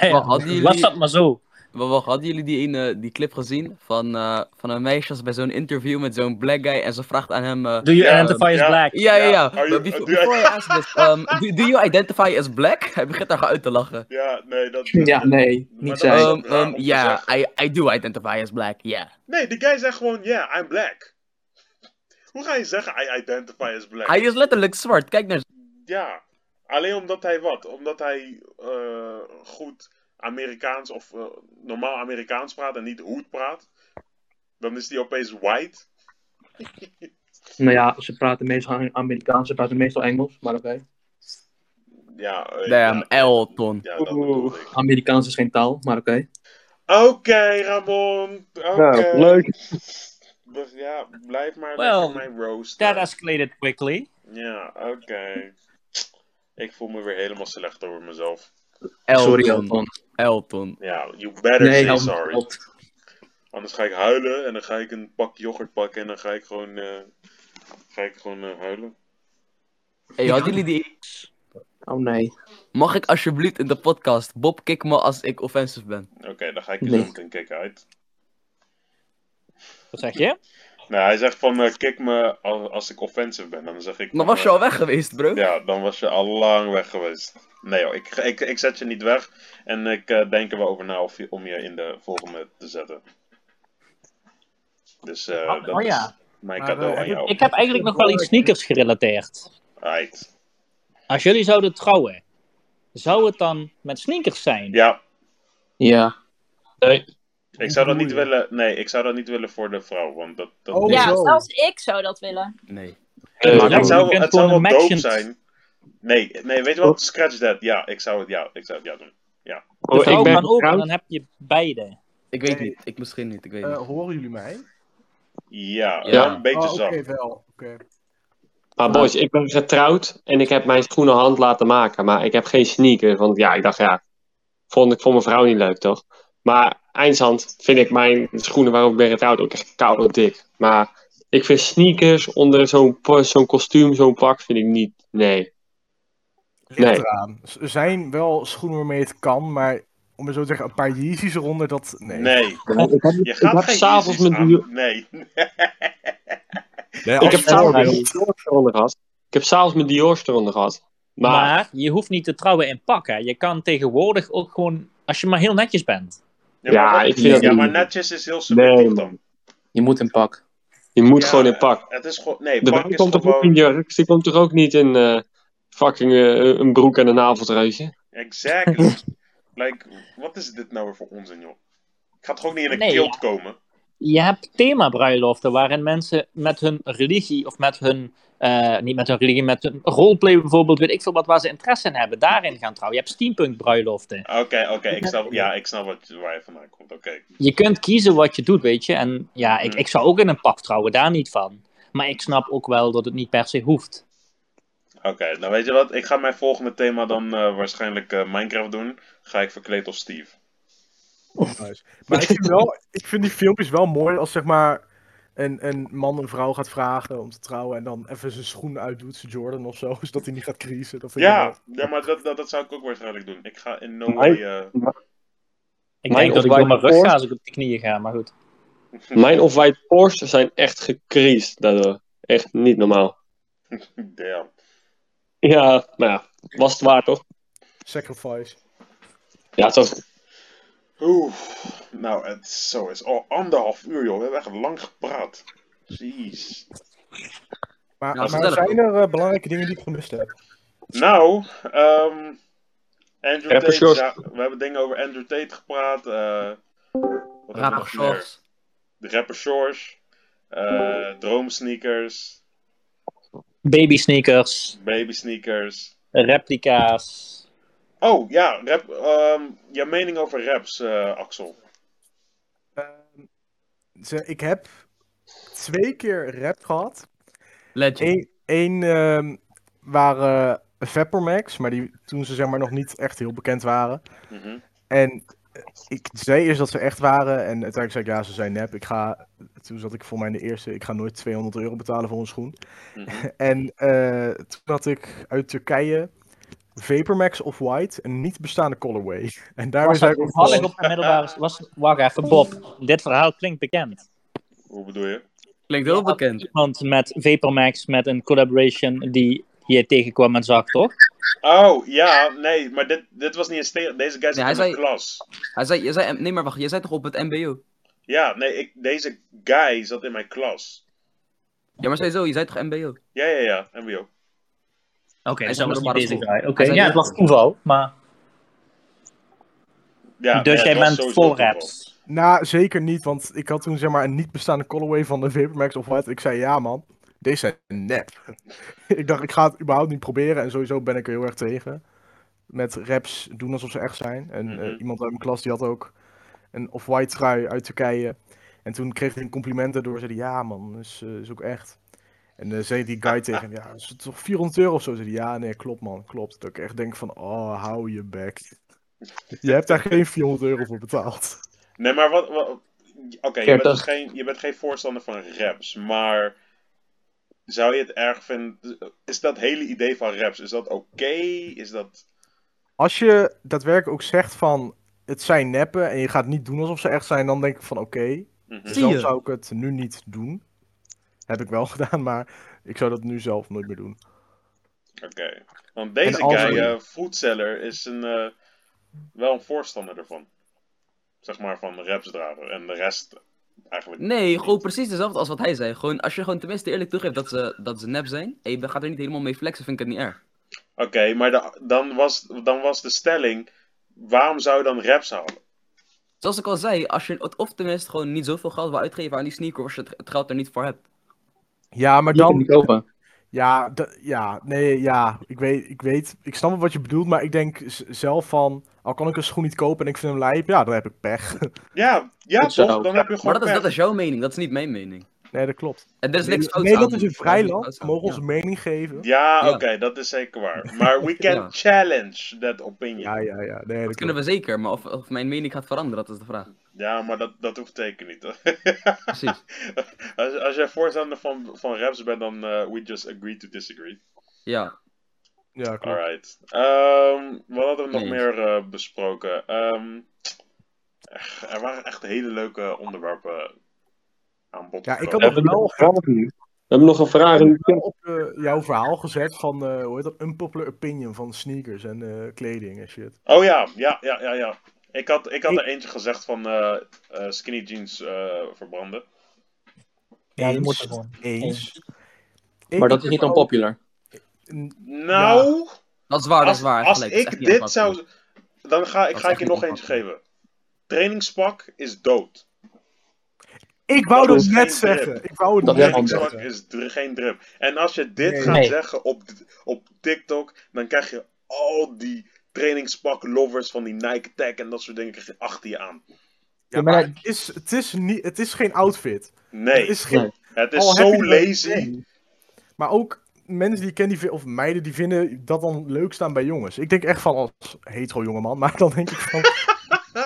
A: Wat hadden jullie-
C: Was dat maar zo.
A: Maar wacht, hadden jullie die, ene, die clip gezien? Van, eh, van een meisje als bij zo'n interview met zo'n black guy. En ze vraagt aan hem... eh,
C: Do you
B: Ja,
C: identify as
B: ja.
C: black?
A: Ja, ja,
B: (laughs) Ja,
A: ja.
B: are
A: But
B: you-
A: befo-
B: do I-
A: before I ask this, um, do, do you identify as black? Hij begint daar uit te lachen.
B: Ja, nee, dat...
F: (laughs) Ja, nee,
B: Maar
F: niet
B: dat is
F: zij.
B: ook
A: Um,
B: raar
A: um,
B: om te
A: yeah,
B: zeggen.
A: I, I do identify as black, yeah.
B: Nee, die guy zegt gewoon, yeah, I'm black. (laughs) Hoe ga je zeggen, I identify as black?
A: Hij is letterlijk zwart, kijk naar
B: Ja, alleen omdat hij wat? Omdat hij eh, goed Amerikaans of eh, normaal Amerikaans praat en niet hoed praat. Dan is hij opeens white.
F: Nou ja, ze praten meestal Amerikaans, ze praten meestal Engels. Maar oké,
B: Ja, eh,
A: Damn,
B: ja.
A: Elton.
B: Ja, dat bedoelde ik.
F: Amerikaans is geen taal, maar oké.
B: Oké, Ramon. Oké.
E: Ja, leuk.
B: Dus Ja, blijf maar
C: Wel,
B: lekker mijn roast.
C: That escalated quickly.
B: Ja, oké. Ik voel me weer helemaal slecht over mezelf.
A: Elton.
F: Sorry, Elton.
A: Elton.
B: Ja, you better
F: Nee,
B: say
F: Elton.
B: sorry. Anders ga ik huilen en dan ga ik een pak yoghurt pakken en dan ga ik gewoon, eh, ga ik gewoon eh, huilen.
A: Hey, hadden jullie die...
F: Oh nee.
A: Mag ik alsjeblieft in de podcast Bob kick me als ik offensive ben?
B: Oké, dan ga ik je
F: Nee.
B: zo meteen kicken uit.
C: Wat zeg je?
B: Nou, hij zegt van eh kick me als, als ik offensive ben. Dan zeg ik.
A: Dan
B: van,
A: was je
B: eh,
A: al weg geweest, bro.
B: Ja, dan was je al lang weg geweest. Nee hoor, ik, ik, ik zet je niet weg. En ik eh, denk er wel over na of je, om je in de volgende te zetten. Dus eh,
C: Oh,
B: dat
C: oh ja.
B: is mijn
A: Maar,
B: cadeau
A: eh,
B: aan
E: Oh,
B: jou.
C: Ik heb eigenlijk nog wel iets sneakers gerelateerd.
B: Right.
C: Als jullie zouden trouwen, zou het dan met sneakers zijn?
B: Ja,
F: Ja,
B: ik zou dat niet willen. Nee, ik zou dat niet willen voor de vrouw. Want dat. dat
E: Oh,
D: ja,
E: zo.
D: zelfs ik zou dat willen.
A: Nee.
E: Eh,
C: Maar
B: Maar het
C: je
B: zou,
C: kunt
B: het zou
C: gewoon
B: wel
C: een
B: dope
C: matchend-
B: zijn. Nee, nee, weet je wat? Scratch that. Ja, ik zou het ja, ik zou het ja doen.
C: De
E: Oh,
C: vrouw
E: ik ben
C: kan ook en dan
E: getrouwd.
C: heb je beide.
A: Ik weet
G: Nee.
A: niet. Ik misschien niet, ik weet
G: Eh,
A: niet.
G: horen jullie mij?
B: Ja,
A: Ja.
B: wel een beetje
G: Oh, Oké,
B: zacht.
G: wel. Oké.
E: Maar
B: Nou.
E: boys, ik ben getrouwd en ik heb mijn schoenen hand laten maken. Maar ik heb geen sneakers. Want ja, ik dacht ja, vond ik voor mijn vrouw niet leuk toch? Maar eindstand vind ik mijn schoenen waarop ik ben getrouwd ook echt koud en dik. Maar ik vind sneakers onder zo'n pa- zo'n kostuum, zo'n pak, vind ik niet. Nee.
G: Ligt
E: Nee.
G: eraan. Z- Er zijn wel schoenen waarmee het kan, maar om het zo te zeggen, een paar Yeezys eronder, dat... Nee.
B: Nee,
E: Ik heb,
B: je
E: ik
B: gaat
E: heb
B: geen
E: s'avonds
B: Yeezys
E: mijn
B: aan.
E: duur.
B: Nee.
G: Nee,
E: Ik
G: als
E: heb s'avonds mijn
G: voorbeeld.
E: Dior eronder gehad. Ik heb s'avonds mijn Dior eronder gehad. Maar,
C: Maar... je hoeft niet te trouwen in pakken. Je kan tegenwoordig ook gewoon, als je maar heel netjes bent.
B: Ja,
E: Ja,
B: maar,
E: ik
B: dat,
E: vind dat
B: ja,
E: niet.
B: maar netjes is heel subjectief
E: Nee,
B: dan.
F: Je moet een pak.
E: je moet
B: Ja,
E: gewoon in pak.
B: Het is gewoon... Nee,
E: De
B: pak
E: wijn
B: is
E: komt toch ook in
B: gewoon...
E: jurk? Die komt toch ook niet in eh, fucking eh, een broek en een avondruisje? (laughs)
B: Exactly. like, wat is dit nou weer voor onzin, joh? Ik ga toch ook niet in een
C: Nee,
B: kilt komen?
C: Je hebt themabruiloften waarin mensen met hun religie of met hun, eh, niet met hun religie, met hun roleplay bijvoorbeeld, weet ik veel wat, waar ze interesse in hebben, daarin gaan trouwen. Je hebt steampunk bruiloften.
B: Oké, oké, ik snap, ja, ik snap wat, waar je vandaan komt. Oké.
C: je kunt kiezen wat je doet, weet je. En ja, ik,
B: Mhm.
C: ik zou ook in een pak trouwen, daar niet van. Maar ik snap ook wel dat het niet per se hoeft.
B: Oké, nou weet je wat? Ik ga mijn volgende thema dan eh, waarschijnlijk eh, Minecraft doen. Ga ik verkleed als Steve.
G: Oh, Nice. Maar ik vind, wel, (laughs) ik vind die filmpjes wel mooi als zeg maar een, een man een vrouw gaat vragen om te trouwen en dan even zijn schoen uitdoet, zijn Jordan of zo, (laughs) zodat hij niet gaat kriezen. Dat vind ik wel-
B: Ja, ja maar dat, dat, dat zou ik ook waarschijnlijk doen. Ik ga in no way... eh,
C: Ik
E: Mijn
C: denk dat ik door mijn
E: ontwijken
C: rug ga
E: voor-
C: als ik op de knieën ga, maar goed.
B: Mhm.
E: Mijn off-white Porsche zijn echt gecreased daardoor. Echt niet normaal.
B: Damn.
E: Ja, maar ja, was het waar toch?
G: Sacrifice.
E: Ja, toch.
B: Oeh. Nou, het is- zo is al anderhalf uur, joh. We hebben echt lang gepraat. Jeez.
G: Maar,
A: Ja,
G: maar
A: gezellig.
G: zijn er eh, belangrijke dingen die ik gemist heb?
B: Nou, ehm Andrew
E: Rapper
B: Tate.
E: Shores.
B: ja, we hebben dingen over Andrew Tate gepraat. eh wat hebben we
A: Rapper
B: nog meer?
A: shorts.
B: De rapper Shores. eh droomsneakers.
C: Baby sneakers,
B: Baby sneakers.
C: replica's.
B: Oh ja, rap, ehm jouw mening over raps, eh, Axel.
G: Ehm, ze- ik heb twee keer rap gehad.
A: Legend.
G: Eén één, ehm, waren Vapormax, maar die toen ze zeg maar nog niet echt heel bekend waren.
B: Mhm.
G: En ik zei eerst dat ze echt waren. En uiteindelijk zei ik, ja, ze zijn nep. Ik ga, toen zat ik voor mij in de eerste, ik ga nooit 200 euro betalen voor een schoen.
B: Mhm.
G: (laughs) En eh, toen had ik uit Turkije Vapormax of White, een niet bestaande colorway. (laughs) En daarmee
C: Was
G: zei
C: dat
G: ik ook
C: toevallig
G: gewoon-
C: op mijn middelbare... Was, wacht even, Bob. Dit verhaal klinkt bekend.
B: Hoe bedoel je?
A: Klinkt heel
C: Je had
A: bekend.
C: Iemand met Vapormax, met een collaboration die je tegenkwam en zag, toch?
B: Oh ja, nee, maar dit, dit was niet een steen. Deze guy zit
A: hij
B: in
A: zei-
B: de klas.
A: Hij zei, je zei, nee maar wacht, je zei toch op het mbo?
B: Ja, nee, ik, deze guy zat in mijn klas.
A: Ja maar sowieso, je zei toch mbo?
B: Ja, ja, ja, MBO.
C: Oké,
A: Hij zat
C: dus dat was
A: op de
C: niet deze
A: basisschool.
C: guy. Oké,
A: Hij zei-
C: ja, het was toeval, maar...
B: Ja,
C: dus
B: nee,
C: jij
B: het was
C: bent
B: sowieso
C: voor
B: toeval.
C: raps.
G: Nou, zeker niet, want ik had toen zeg maar een niet bestaande colorway van de Vapormax of White. Ik zei, ja man, deze zijn nep. (laughs) ik dacht, ik ga het überhaupt niet proberen en sowieso ben ik er heel erg tegen. Met raps doen alsof ze echt zijn. En eh,
B: Mhm.
G: iemand uit mijn klas die had ook een off-white trui uit Turkije. En toen kreeg hij complimenten door, zei hij, ja man, is, eh, is ook echt. En eh zei die guy tegen hem, ja, is het toch 400 euro of zo? Zei hij, ja nee, klopt man, klopt. Dat ik echt denk van, oh, hou je bek. Je hebt daar geen 400 euro voor betaald.
B: Nee, maar wat. wat- Oké, je, bent dus geen- je bent geen voorstander van raps, maar. Zou je het erg vinden? Is dat hele idee van raps, is dat oké? Is dat.
G: Als je daadwerkelijk ook zegt van het zijn neppen en je gaat niet doen alsof ze echt zijn, dan denk ik van oké,
B: Mhm.
A: Zie je?
G: zelf zou ik het nu niet doen. Heb ik wel (laughs) gedaan, maar ik zou dat nu zelf nooit meer doen.
B: Oké. Want deze
G: En als
B: guy,
G: er-
B: eh Foodseller, is een, eh, wel een voorstander ervan. Zeg maar van rapsdraver en de rest eigenlijk.
A: Nee,
B: niet.
A: gewoon precies dezelfde als wat hij zei. Gewoon, als je gewoon tenminste eerlijk toegeeft dat ze, dat ze nep zijn, en je be- gaat er niet helemaal mee flexen, vind ik het niet erg.
B: Oké, maar da- dan, was, dan was de stelling: waarom zou je dan raps halen?
A: Zoals ik al zei, als je het- of tenminste gewoon niet zoveel geld wil uitgeven aan die sneaker, als je het- het geld er niet voor hebt.
G: Ja, maar
F: Je kunt die
G: dan.
F: kopen.
G: Ja, d- ja, nee, ja. Ik weet, ik weet, ik snap wel wat je bedoelt, maar ik denk z- zelf van. Al kan ik een schoen niet kopen en ik vind hem lijp, ja, dan heb ik pech. (laughs)
B: Ja, ja
F: Goed zo.
B: toch? Dan heb je
A: Maar
B: gewoon.
A: dat is, dat
B: pech.
A: is jouw mening, dat is niet mijn mening.
G: Nee, dat klopt.
A: En er is niks fouts
G: Nederland
A: aan.
G: is een
A: Er
G: vrij
A: niks
G: land,
A: fouts
G: we
A: aan,
G: mogen
A: ja.
G: onze mening geven.
B: Ja,
A: Ja.
B: oké, dat is zeker waar. Maar we can
A: Ja.
B: challenge that opinion.
G: Ja,
B: Ja,
G: ja, ja. Nee,
A: Dat
G: dat
A: kunnen
G: klopt.
A: we zeker, maar of, of mijn mening gaat veranderen, dat is de vraag.
B: maar dat, dat hoeft zeker niet.
A: Precies.
B: (laughs) als, als jij voorstander van, van raps bent, dan eh, we just agree to disagree.
A: Ja.
G: Ja, klopt.
B: Alright. Ehm wat hadden we nog
A: Nee.
B: meer eh, besproken? Ehm, echt, er waren echt hele leuke onderwerpen aan bod.
G: Ja, ik
B: gekomen.
G: had nog wel
E: We hebben nog een vraag. in de
G: Ik heb
E: chat.
G: op eh, jouw verhaal gezet van, eh, hoe heet dat, unpopular opinion van sneakers en eh, kleding en shit.
B: Oh ja, ja, ja, ja, ja. Ik had, ik had er eentje gezegd van eh, eh, skinny jeans eh, verbranden.
C: Ja, dat
G: Eens.
C: moet gewoon.
G: Eens.
F: Maar dat is niet onpopular.
B: Nou,
A: Dat is waar, dat
B: als,
A: is waar.
B: als
A: gelijk, dat is echt
B: ik
A: niet
B: dit
A: aanpakken.
B: zou... Dan ga ik,
A: is
B: ga ik
A: echt
B: je
A: niet
B: nog eentje
A: aanpakken.
B: geven. Trainingspak is dood.
G: Ik wou
B: dat
G: dat
B: is
G: net
B: geen
G: zeggen. Ik wou het
F: Dat
G: net
F: is geen
B: Trainingspak
G: zeggen.
B: is dr- geen drip. En als je dit
G: Nee.
B: gaat
C: Nee.
B: zeggen op, op TikTok, dan krijg je al die trainingspak lovers van die Nike Tech en dat soort dingen krijg je achter je aan.
G: Ja, maar het is, het, is niet, het is geen outfit.
B: Nee,
G: Het is, geen,
B: het is
G: al heb je
B: zo
G: dat-
B: lazy.
G: nee. Maar ook mensen die ik ken, die, vi- of meiden, die vinden dat dan leuk staan bij jongens. Ik denk echt van als hetero jongeman, (laughs) maar dan denk ik van,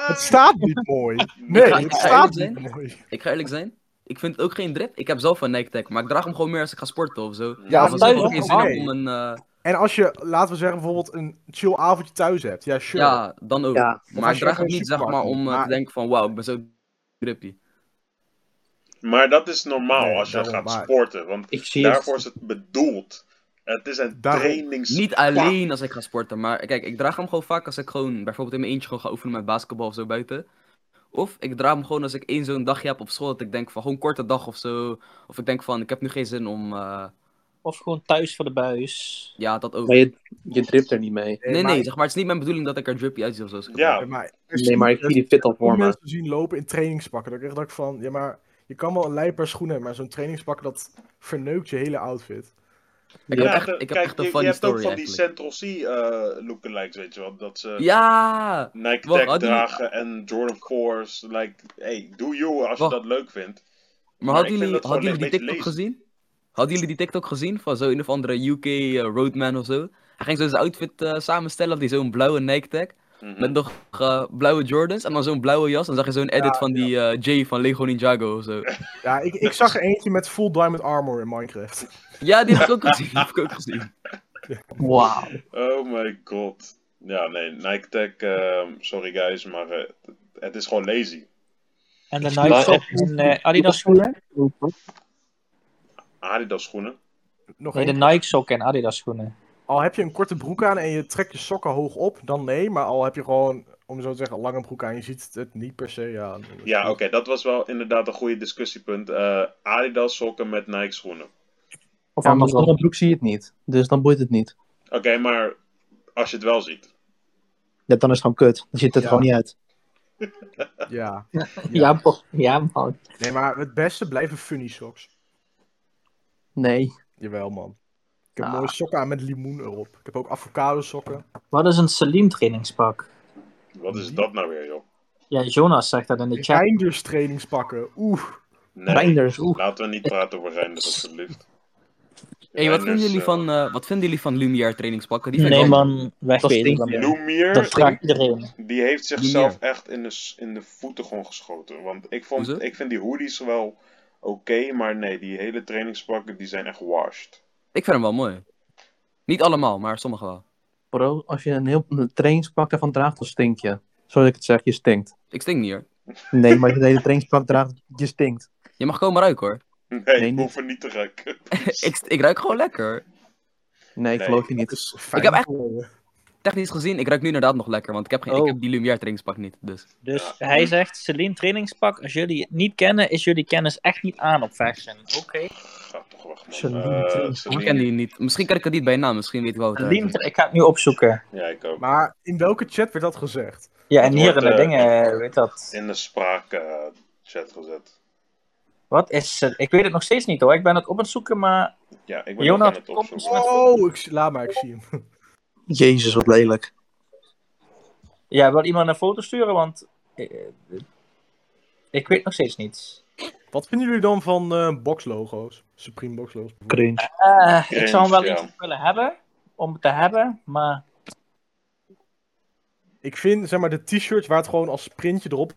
G: het staat niet mooi. Nee,
A: ga-
G: het
A: ik ga
G: staat
A: eerlijk
G: niet mooi.
A: Ik ga eerlijk zijn. Ik vind het ook geen drip. Ik heb zelf een Nike Tech, maar ik draag hem gewoon meer als ik ga sporten of zo.
B: Ja,
A: Of als ik
C: thuis
A: gewoon
C: ook
A: geen
C: wel.
A: zin heb
G: Nee.
A: om een... eh,
G: En als je, laten we zeggen, bijvoorbeeld een chill avondje thuis hebt. Ja, sure.
A: ja, dan ook.
F: Ja,
G: als
A: maar ik
G: je
A: draag hem
G: naar de
A: niet zeg maar
G: supermarkt
A: om
G: moet,
A: eh,
G: maar-
A: te denken van wauw, ik ben zo drippy.
B: Maar dat is normaal
G: Nee,
B: als je
G: daarom,
B: gaat
G: maar-
B: sporten, want
C: Ik zie
B: daarvoor
C: het.
B: is het bedoeld. Het is een
G: Daarom.
B: trainings.
A: Niet alleen als ik ga sporten, maar kijk, ik draag hem gewoon vaak als ik gewoon bijvoorbeeld in mijn eentje gewoon ga oefenen met basketbal of zo buiten. Of ik draag hem gewoon als ik één zo'n dagje heb op school, dat ik denk van gewoon korte dag of zo. Of ik denk van ik heb nu geen zin om, eh,
C: Of gewoon thuis voor de buis.
A: ja dat ook.
F: Maar
A: Nee,
F: je, je dript er niet mee.
A: nee,
G: maar,
A: zeg maar het is niet mijn bedoeling dat ik er drippy uitzie of zo. als ik het
B: Ja.
A: draag.
G: maar er
F: Nee,
G: zien-
F: maar ik
G: er
F: zie die fit al
G: veel
F: voor me.
G: mensen zien lopen in trainingspakken. Dat ik echt dacht van, ja maar, je kan wel een lijper schoenen hebben, maar zo'n trainingspak, dat verneukt je hele outfit.
A: Ik
B: Ja,
A: heb echt,
B: de-
A: ik heb
B: kijk,
A: echt een
B: je,
A: funny
B: je hebt ook
A: story
B: van die
A: eigenlijk.
B: Central Sea eh lookalikes, weet je wel. Dat ze
A: Ja!
B: Nike
A: Wacht,
B: Tech
A: had die-
B: dragen en Jordan 4's. Like, hey, do you als
A: Wacht.
B: je dat leuk vindt.
A: Maar
B: ik
A: hadden
B: vind
A: jullie,
B: dat
A: hadden
B: gewoon
A: jullie die
B: een beetje
A: TikTok gezien? Hadden jullie die TikTok gezien van zo'n een of andere UK eh, roadman of zo? Hij ging zo zijn outfit eh, samenstellen, had hij zo'n blauwe Nike tag.
B: Mhm.
A: Met nog eh, blauwe Jordans en dan zo'n blauwe jas. En dan zag je zo'n edit van die eh, Jay van Lego Ninjago of zo.
G: Ja, ik, ik zag er eentje met full diamond armor in Minecraft. (laughs)
A: Ja, die heb ik ook
B: (laughs)
A: gezien. Die heb ik ook gezien.
F: Wauw.
B: Oh my god. Ja, nee, Nike Tech, ehm, sorry guys, maar eh, het- het is gewoon lazy.
C: En de
E: Maar-
C: Nike en eh, Adidas schoenen.
B: Adidas schoenen.
G: Nog
C: Nee, de
G: één.
C: Nike sokken en Adidas schoenen.
G: Al heb je een korte broek aan en je trekt je sokken hoog op, dan nee. Maar al heb je gewoon, om zo te zeggen, een lange broek aan, je ziet het niet per se. Ja, dan is het
B: Ja,
G: goed.
B: oké, dat was wel inderdaad een goede discussiepunt. Eh, Adidas sokken met Nike schoenen.
C: Of
F: Ja, maar
C: andersom.
F: zonder broek zie je het niet. Dus dan boeit het niet.
B: Oké, maar als je het wel ziet.
C: Ja, dan is het gewoon kut. Dan ziet het
G: Ja.
C: gewoon niet uit.
G: Ja.
C: Ja, man. Ja, man.
G: Nee, maar het beste blijven funny socks.
F: Nee.
G: Jawel, man. Ik heb
C: Ah.
G: mooie sokken aan met limoen erop. Ik heb ook avocado sokken.
C: Wat is een Celine trainingspak?
B: Wat
A: Mhm.
B: is dat nou weer, joh?
C: Ja, Jonas zegt dat in de chat.
G: Reinders trainingspakken. Oeh.
B: Nee,
C: Reinders, oeh.
B: laten we niet praten over Reinders, alsjeblieft.
A: Hey, wat vinden
B: Reinders,
A: jullie
B: eh,
A: van, eh, wat vinden jullie van Lumière trainingspakken? Die vind ik
C: Nee,
A: wel-
C: man. Wegwezen
F: stinkt,
C: dan weer. Dat
B: Lumière,
C: vraagt iedereen.
B: die heeft zichzelf echt in de, s- in de voeten gewoon geschoten. Want ik, vond,
A: Hoezo?
B: ik vind die hoodies wel oké, maar nee, die hele trainingspakken, die zijn echt washed. (laughs)
A: Ik vind hem wel mooi. Niet allemaal, maar sommige wel.
F: Bro, als je een heel een trainingspak daarvan draagt, dan stink je. Zoals ik het zeg, je stinkt.
A: Ik stink niet hoor.
F: Nee, maar als je een hele trainingspak draagt, je stinkt.
A: Je mag komen ruiken hoor. (laughs)
B: Nee,
F: niet.
B: hoef er niet te raken.
A: ik, st- ik ruik gewoon lekker.
F: Nee, ik
B: Nee.
F: geloof je niet.
G: Fijn
A: heb echt-
G: voor je.
A: Technisch gezien, ik ruik nu inderdaad nog lekker, want ik heb, geen, ik
F: Oh.
A: heb die Lumière trainingspak niet. Dus.
C: Dus
B: Ja.
C: hij zegt, Celine trainingspak, als jullie het niet kennen, is jullie kennis echt niet aan op fashion. Oké.
B: (laughs) Ga toch weg, man.
F: Celine
B: Eh,
F: trainingspak.
A: Ik
B: Celine-
A: ken die niet. Misschien ken ik het niet bij naam, misschien weet ik wel wat het
C: Celine,
A: is.
C: tra- ik ga het nu opzoeken.
B: Ja, ik ook.
G: Maar in welke chat werd dat gezegd?
C: Ja,
B: Het
C: en hier
B: wordt,
C: in
B: eh,
C: de dingen, weet dat.
B: In de spraak eh, chat gezet.
C: Wat is het? Ik weet het nog steeds niet hoor. Ik ben het op aan het zoeken, maar
B: Ja, ik ben
C: Jonas,
B: ook aan het
C: kom
B: opzoeken.
C: eens.
G: Oh, ik, zie- laat maar, ik zie hem. (laughs)
F: Jezus, wat lelijk.
C: ja, wil iemand een foto sturen, want eh, eh, ik weet nog steeds niets.
G: Wat vinden jullie dan van eh, boxlogo's? Supreme boxlogo's.
F: Cringe.
C: Eh, ik
B: Cringe,
C: zou hem wel
B: ja.
C: iets willen hebben, om het te hebben, maar
G: Ik vind, zeg maar, de t-shirts waar het gewoon als printje erop...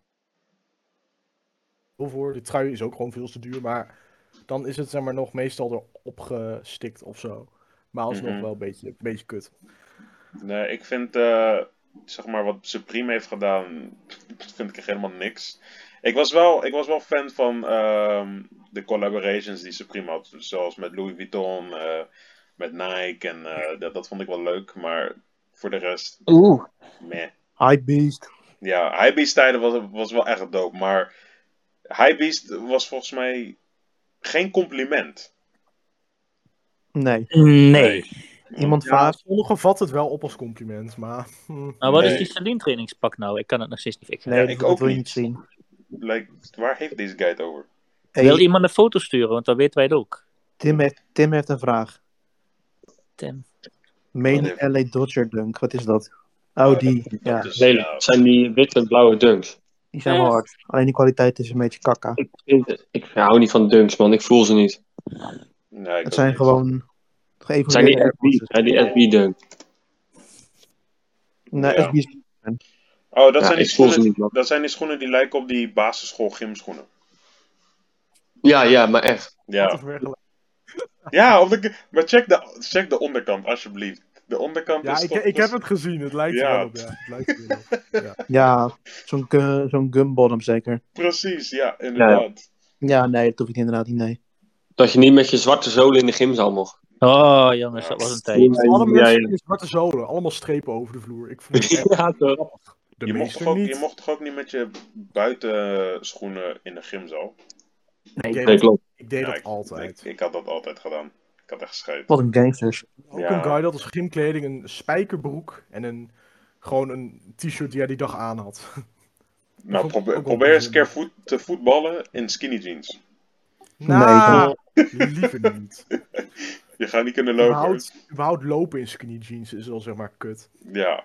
G: Heel voor, de trui is ook gewoon veel te duur, maar... Dan is het, zeg maar, nog meestal erop gestikt of zo. Maar alsnog
B: Mhm.
G: wel een beetje, een beetje kut.
B: Nee, ik vind, eh, zeg maar, wat Supreme heeft gedaan, (laughs) vind ik echt helemaal niks. Ik was wel, ik was wel fan van ehm, de collaborations die Supreme had. Zoals met Louis Vuitton, eh, met Nike. En eh, dat, dat vond ik wel leuk. Maar voor de rest,
C: Oeh,
B: meh.
F: High Beast.
B: Ja, Hypebeast tijden was, was wel echt dope, maar Hypebeast was volgens mij geen compliment.
F: Nee.
C: nee.
F: Iemand
G: Ja,
F: vaart.
G: sommigen vatten het wel op als compliment, maar... hm.
C: Maar wat
B: Nee.
C: is die Celine trainingspak nou? Ik kan het nog steeds niet. Ik,
F: Nee,
B: Ja,
F: dat,
B: ik
F: dat
B: ook
F: wil je
B: niet.
F: niet zien.
B: Like, waar heeft deze guy het over?
F: Hey,
C: Wil iemand een foto sturen, want dan weten wij het ook.
F: Tim, heeft, Tim heeft een vraag.
C: Tim.
F: Main
B: Wat
F: LA Dodger Dunk, wat is dat? Oh, die. Ja, Eh,
B: Dus,
E: Lelijk.
B: ja,
E: Het zijn die witte en blauwe dunks.
F: die zijn wel
D: Dus
F: hard. Alleen die kwaliteit is een beetje kakka.
E: Ik, vind- ik hou niet van dunks, man. Ik voel ze niet.
B: nee, ik
F: Het
B: ook
F: zijn
B: niet.
F: gewoon
E: Het zijn die
F: geëvalueerde
E: FB,
F: airbases.
E: het zijn die FB dunks.
F: Nee,
B: Ja.
F: FB's.
B: Oh, dat,
E: Ja,
B: zijn die
E: ik voel ze
B: schoenen,
E: niet, man.
B: dat zijn die schoenen die lijken op die basisschool gymschoenen.
E: Ja, ja, maar echt.
G: Wat een
B: Ja,
G: vergelijking.
B: ja omdat ik- maar check de, check de onderkant, alsjeblieft. De onderkant
G: Ja,
B: is
G: ik,
B: toch-
G: ik heb het gezien. Het lijkt er
B: Ja.
G: wel op, ja. Het lijkt er wel
B: (laughs)
G: op.
F: Ja, zo'n gu- zo'n gumbottom zeker.
B: Precies, ja, inderdaad.
F: Ja, nee, dat hoef ik inderdaad niet, nee.
E: Dat je niet met je zwarte zolen in de gymzaal mocht.
C: Oh, jongens, dat was een tijd.
G: Alle
E: ja,
G: mensen
E: ja.
G: in zwarte zolen. Allemaal strepen over de vloer.
B: (laughs)
G: Ik vond het echt
E: Ja, toch.
G: grappig. De
B: Je, mocht
G: meester
B: toch ook,
G: niet.
B: je mocht toch ook niet met je buitenschoenen in de gymzaal?
G: Ik deed
E: Nee,
G: dat,
E: klopt.
G: ik deed
B: Ja,
G: dat
B: ik-
G: altijd.
B: Ik, ik had dat altijd gedaan. Ik had echt scheet.
F: Wat een gangsters.
G: Ook
B: Ja.
G: een guy dat als gymkleding een spijkerbroek en een, gewoon een t-shirt die hij die dag aan had. (laughs)
B: Nou,
G: Ook-
B: probeer,
G: ook
B: probeer eens een keer
G: onzin.
B: voet, te voetballen in skinny jeans.
G: Nou, liever
B: (laughs)
G: niet.
B: Je gaat niet kunnen lopen. hoor.
G: Überhaupt, überhaupt lopen in skinny jeans is al zeg maar kut.
B: Ja.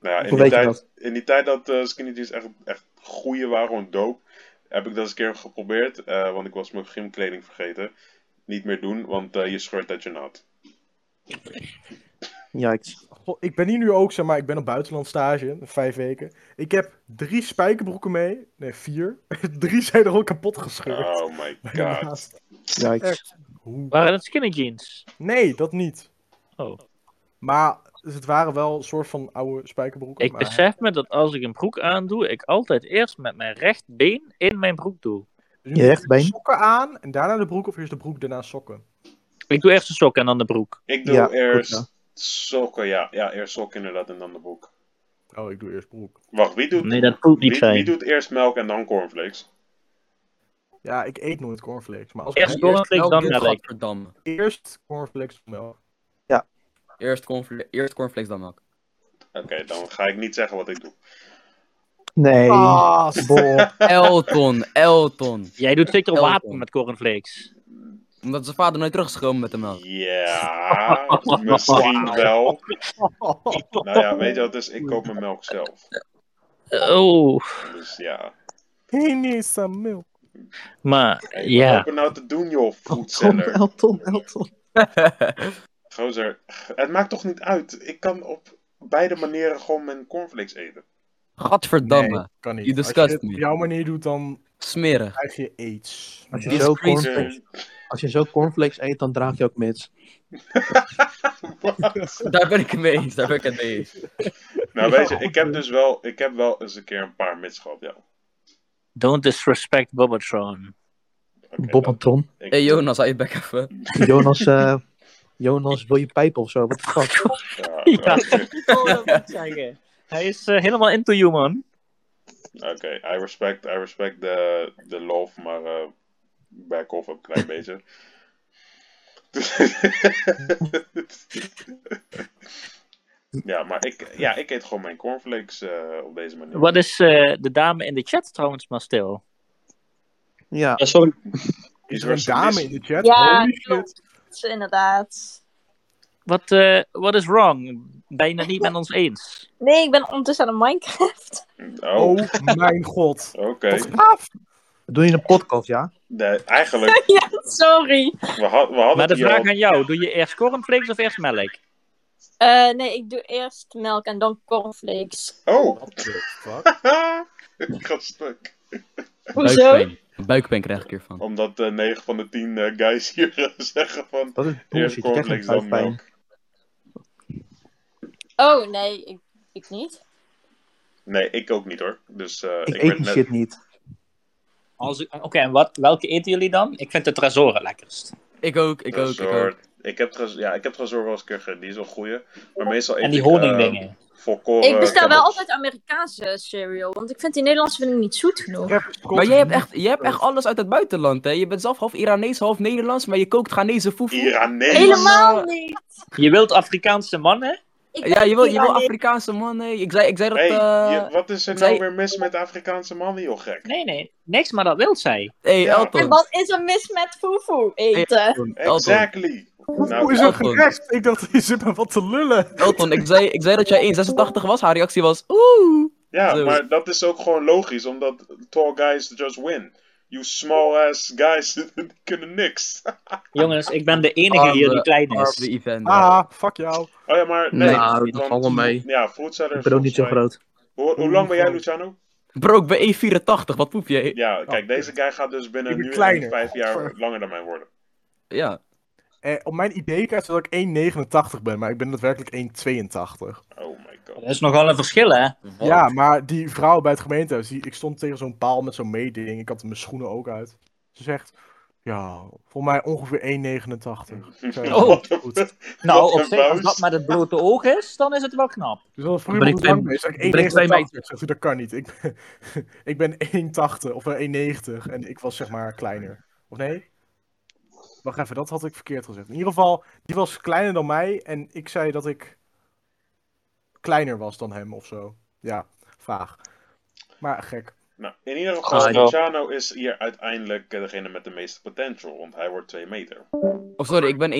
B: Nou ja, in
F: Hoe
B: die,
F: weet je
B: tijd,
F: dat?
B: in die tijd dat eh, skinny jeans echt, echt goeie waren, gewoon dope, heb ik dat eens een keer geprobeerd. eh, want ik was mijn gymkleding vergeten. Niet meer doen, want eh, je scheurt dat je naad.
F: Yikes.
G: Goh, ik ben hier nu ook, zeg maar, ik ben op buitenlandstage, vijf weken. Ik heb drie spijkerbroeken mee. Nee, vier. (laughs) drie zijn er al kapot gescheurd.
B: Oh
F: (laughs)
B: my
G: Bij de
B: god.
G: laatste.
F: Yikes.
G: Hoe?
C: Waren dat skinny jeans?
G: Nee, dat niet.
C: Oh.
G: Maar dus het waren wel een soort van oude spijkerbroeken.
C: Ik
G: maar-
C: besef me dat als ik een broek aandoe, ik altijd eerst met mijn rechtsbeen in mijn broek doe.
G: Dus
F: Je
G: moet
F: rechtsbeen?
G: Sokken aan en daarna de broek, of eerst de broek, daarna sokken.
C: Ik doe eerst de sok en dan de broek.
B: Ik doe
F: Ja, goed,
B: eerst
F: ja.
B: sokken, ja. Ja, eerst sokken inderdaad en dan de boek.
G: Oh, ik doe eerst broek.
B: Wacht, wie doet,
C: Nee, dat moet niet
B: wie, wie
C: zijn.
B: doet eerst melk en dan cornflakes?
G: Ja, ik eet nooit cornflakes. Maar als
C: Eerst
G: ik
C: cornflakes, dan melk.
A: Godverdamme.
G: eerst cornflakes of melk.
A: Eerst, cornfl- eerst cornflakes, dan melk.
B: Oké, dan ga ik niet zeggen wat ik doe.
F: Nee.
G: Ah, s-
F: Bol.
A: Elton, (laughs) Elton.
C: Jij doet zeker
A: Elton.
C: water met cornflakes.
A: Omdat zijn vader nooit terug is gekomen met de
C: Oh.
A: melk. (laughs)
B: Ja,
C: (laughs)
B: misschien
F: (laughs)
B: wel. Nou ja, weet je wat, dus ik koop mijn melk zelf.
C: Oh,
B: Dus ja.
G: He needs some milk.
C: maar
B: Hey, Wat
C: ja.
B: lopen nou te doen, joh,
F: Elton,
B: foodseller?
F: Elton, Elton.
B: Gozer, het maakt toch niet uit? Ik kan op beide manieren gewoon mijn cornflakes eten.
A: Godverdamme.
G: Nee, kan niet.
A: You
G: Als
A: disgust
G: je het
A: me.
G: op jouw manier doet, dan
A: Smerig.
G: krijg je aids.
F: Als je,
A: This
F: zo
A: crazy.
B: Dus-
F: cornflakes, als je zo cornflakes eet, dan draag je ook mits.
A: Daar ben ik het mee eens. Daar ben ik het mee eens.
B: (laughs) nou weet je, ik heb dus wel, ik heb wel eens een keer een paar mits gehad, ja.
C: Don't disrespect Bobatron.
B: Oké,
F: Bob en
B: dat-
F: Tron.
B: ik-
A: Hey Jonas, hou je bek even.
F: Jonas, eh, Jonas, wil je pijpen of zo? Wat de fuck?
B: Ja,
C: Ja.
B: oké.
C: Oh, dat moet ik zeggen. Hij is eh, helemaal into you, man.
B: Oké, I respect, I respect de, de love, maar eh back off een klein beetje. ja, maar ik, ja, ik eet gewoon mijn cornflakes eh, op deze manier.
C: Wat is eh, de dame in de chat trouwens maar stil?
F: Ja,
E: Ja, sorry.
G: Is er een dame in de chat?
D: Ja,
G: Holy shit.
D: klopt. Inderdaad.
C: Wat, eh, wat is wrong? Bijna niet met ons eens.
D: Nee, ik ben ondertussen aan de Minecraft. (laughs)
B: Oh,
G: Oh
B: oké.
G: mijn god. Wat gaaf.
F: doe je een podcast, ja?
B: Nee, eigenlijk,
D: (laughs) ja, sorry.
B: we, had- we hadden
C: Maar de
B: het hier
C: vraag
B: al...
C: aan jou, doe je eerst cornflakes of eerst melk?
D: Eh, nee, ik doe eerst melk en dan cornflakes.
B: Oh! (laughs)
G: What the fuck?
B: ik ga stuk.
D: Hoezo?
A: Buikpijn krijg ik hiervan.
B: Omdat eh (laughs) 9 van de 10 eh, guys hier eh, zeggen van...
F: Dat is
B: Eerst
F: bullshit. Je
B: cornflakes,
F: krijgt geen
B: dan
F: buikpijn.
B: melk.
D: Oh, nee, ik, ik niet.
B: Nee, ik ook niet hoor. Dus eh,
H: Ik,
B: ben
H: eet die
B: net-
H: shit niet.
C: Als ik- Oké, en wat, welke eten jullie dan? Ik vind de Tresor het lekkerst.
A: Ik ook, ik ook, ik
B: Tresor.
A: ook.
B: Ik, heb trez- ja, ik heb Tresor wel eens een keer gegeten, die is wel een goeie. Maar meestal eet
C: En die
B: ik, eh,
C: honingdingen.
B: volkoren
D: Ik bestel wel
B: kebabs.
D: altijd Amerikaanse cereal, want ik vind die Nederlandse vind ik niet zoet genoeg.
A: Maar jij hebt, echt, jij hebt echt alles uit het buitenland, hè? Je bent zelf half Iranees, half Nederlands, maar je kookt Ghanese foefoe.
B: Iranees.
D: Helemaal niet!
C: Je wilt Afrikaanse mannen?
D: Ik
A: Ja,
D: ben
A: je wil, je wil
D: Iranees.
A: Afrikaanse man, nee. Ik zei, ik zei dat...
B: Hey,
A: eh,
B: je- wat is er nou
A: zij-
B: weer mis met Afrikaanse mannen, joh, gek?
C: Nee, nee, niks, maar dat wil zij.
A: Hey,
B: Ja.
D: En
A: Elton.
D: wat is er mis met fufu eten?
A: Elton, Elton,
B: Exactly.
G: Hoe is
A: Nou,
G: ook
A: gewoon.
G: gerecht? Ik dacht, (laughs) je zit me wat te lullen.
A: Elton, ik zei, ik zei dat jij 1,86 was. Haar reactie was, oeh.
B: Ja,
A: Zo.
B: maar dat is ook gewoon logisch, omdat tall guys just win. You small ass guys (laughs) die kunnen niks.
C: Jongens, ik ben de enige hier die klein
A: Arme
C: is.
A: event.
G: Ah, fuck jou.
B: Oh ja, maar nee.
F: Nou, dat
B: want-
F: valt wel mee.
B: Ja, fruitseller
H: Ik ben ook niet zo
B: volgens mij-
H: groot.
B: Hoe, hoe lang ben jij, Luciano?
A: Bro, ik ben 1,84. Wat poep jij?
B: Ja, kijk, deze guy gaat dus binnen
G: Ik
B: nu
G: ben
B: en
G: kleiner.
B: vijf jaar
G: Godver.
B: langer dan mij worden.
A: Ja.
G: Eh, op mijn ID-kaart staat dat ik 1,89 ben, maar ik ben daadwerkelijk 1,82.
B: Oh my god.
C: Dat is nogal een verschil, hè?
G: Ja, maar die vrouw bij het gemeentehuis, die, ik stond tegen zo'n paal met zo'n meeding. Ik had mijn schoenen ook uit. Ze zegt, ja, voor mij ongeveer 1,89. Ik zei,
C: Oh.
G: "Wat goed.
C: Nou,
B: Wat
C: op
B: een
C: zich, als
B: buis.
C: dat met het blote oog is, dan is het wel knap.
G: Dus als voor
F: Ben
G: iemand
F: ik twee-
G: lang is, zeg ik
F: ben ik twee
G: 1,89. Zegt ze, dat kan niet. Ik ben, ik (laughs) ben 1,80 of wel 1,90 en ik was zeg maar kleiner. Of nee? Wacht even, dat had ik verkeerd gezegd. In ieder geval, die was kleiner dan mij en ik zei dat ik kleiner was dan hem of zo. Ja, vaag. Maar gek.
B: Nou, in ieder geval,
F: Ah, joh.
B: Luciano is hier uiteindelijk eh, degene met de meeste potential, want hij wordt 2 meter.
A: Of Oh, sorry, ik ben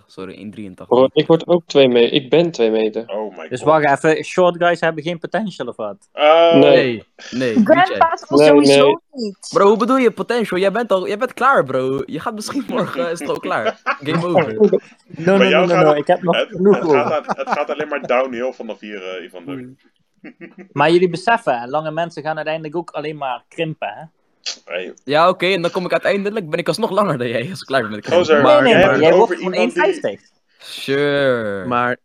A: 1,83. Sorry, 1,83.
E: Bro, ik word ook twee meter. Ik ben twee meter.
B: Oh my
C: Dus
B: god.
C: wacht even, short guys hebben geen potential of wat?
B: Eh,
E: Nee.
A: Nee, nee. niet jij.
D: Grandpa's was
E: Nee,
D: sowieso
E: nee.
D: niet.
A: Bro, hoe bedoel je potential? Jij bent, al, jij bent klaar, bro. Je gaat misschien morgen, eh, is het al klaar.
B: Oh.
A: Game over.
C: No, no,
B: jou
C: no, no,
B: gaat
C: no,
B: het-
C: ik heb nog
B: Het,
C: genoeg
B: het gaat,
C: over.
B: a- het gaat alleen maar downhill vanaf hier, eh Ivan. Druk.
C: Maar jullie beseffen, hè, lange mensen gaan uiteindelijk ook alleen maar krimpen, hè?
B: Hey,
A: Ja, oké, en dan kom ik uiteindelijk, ben ik alsnog langer dan jij als ik klaar ben met de
B: Gozer.
A: game.
C: Nee,
B: Maar
C: nee,
B: jij
C: nee,
B: hebt
C: jij
B: het
C: wordt
B: over
C: gewoon
B: iemand die-
C: 1,50.
A: Sure.
F: Maar,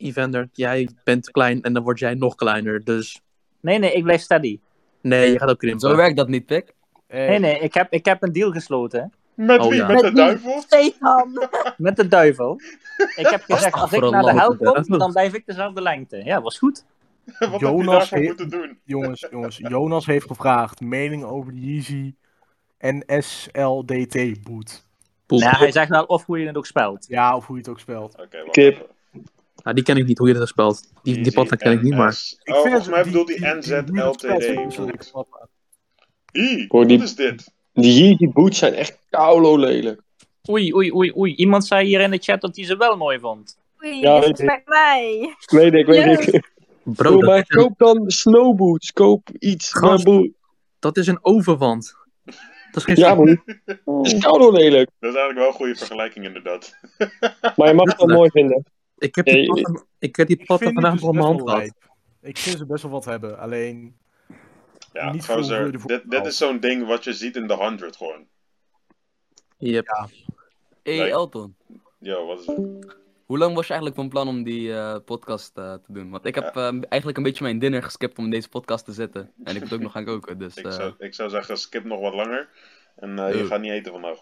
F: Evander, jij bent klein en dan word jij nog kleiner. Dus
C: Nee, nee, ik blijf steady.
F: nee, je gaat ook krimpen.
A: Zo werkt dat niet, pik.
G: Eh,
C: Nee, nee, ik heb, ik heb een deal gesloten
B: Met
F: Oh,
B: wie?
F: ja.
B: Met, de
D: Met wie?
B: duivel?
D: Satan.
C: met de duivel. Ik heb gezegd, als ik naar de hel kom, dan blijf ik dezelfde lengte. Ja, was goed.
B: Wat heb je
G: Jonas
B: daarvoor
G: heeft-
B: moeten doen?
G: Jongens, jongens, Jonas heeft gevraagd mening over de Yeezy NSLDT boot.
F: Poel.
C: Nee, hij zegt wel of hoe je het ook spelt.
G: Ja, of hoe je het ook spelt.
B: Oké, wacht
E: Kip.
B: even.
F: Nou, die ken ik niet, hoe je dat spelt. Die, die patta ken ik niet, maar...
B: NS. Oh, volgens mij bedoel die NZLTD. boot. Ie,
E: Hoor, die-
B: wat is dit?
E: Die Yeezy boots zijn echt koulo lelijk.
C: Oei, oei, oei, oei. Iemand zei hier in de chat dat hij ze wel mooi vond.
D: Oei,
E: Ja,
D: dit
E: weet
D: is bij mij.
E: Weet ik, weet
D: Yes.
E: ik.
F: Bro,
E: Bro,
F: dat,
E: maar
F: is een,
E: koop dan snowboots. Koop iets.
F: Gast.
E: Maar broer,
F: dat is een overwand. Dat is geen
E: Ja, broer. Het is koulo lelijk.
B: Dat is eigenlijk wel een goede vergelijking, inderdaad.
E: Maar je mag het wel mooi vinden.
F: Ik heb die
E: Nee,
F: patta, ik heb die
G: Ik vind
F: patta
G: die
F: vandaag
G: dus
F: nog op mijn
G: best
F: hand gehad.
G: wel lijp. Ik vind ze best wel wat hebben, alleen...
B: Ja,
G: Niet veel
B: gozer,
G: woorden voor-
B: dit, dit is zo'n ding wat je ziet in de 100 gewoon.
F: Yep.
A: hey,
B: Nee.
A: Elton.
B: Yo, wat is het?
A: Hoe lang was je eigenlijk van plan om die eh, podcast eh, te doen? Want ik heb eh, eigenlijk een beetje mijn dinner geskipt om deze podcast te zetten. En ik moet ook nog gaan koken, dus...
B: Ik
A: eh,
B: zou, ik zou zeggen, skip nog wat langer. En eh, je
A: Yo.
B: gaat niet eten vandaag.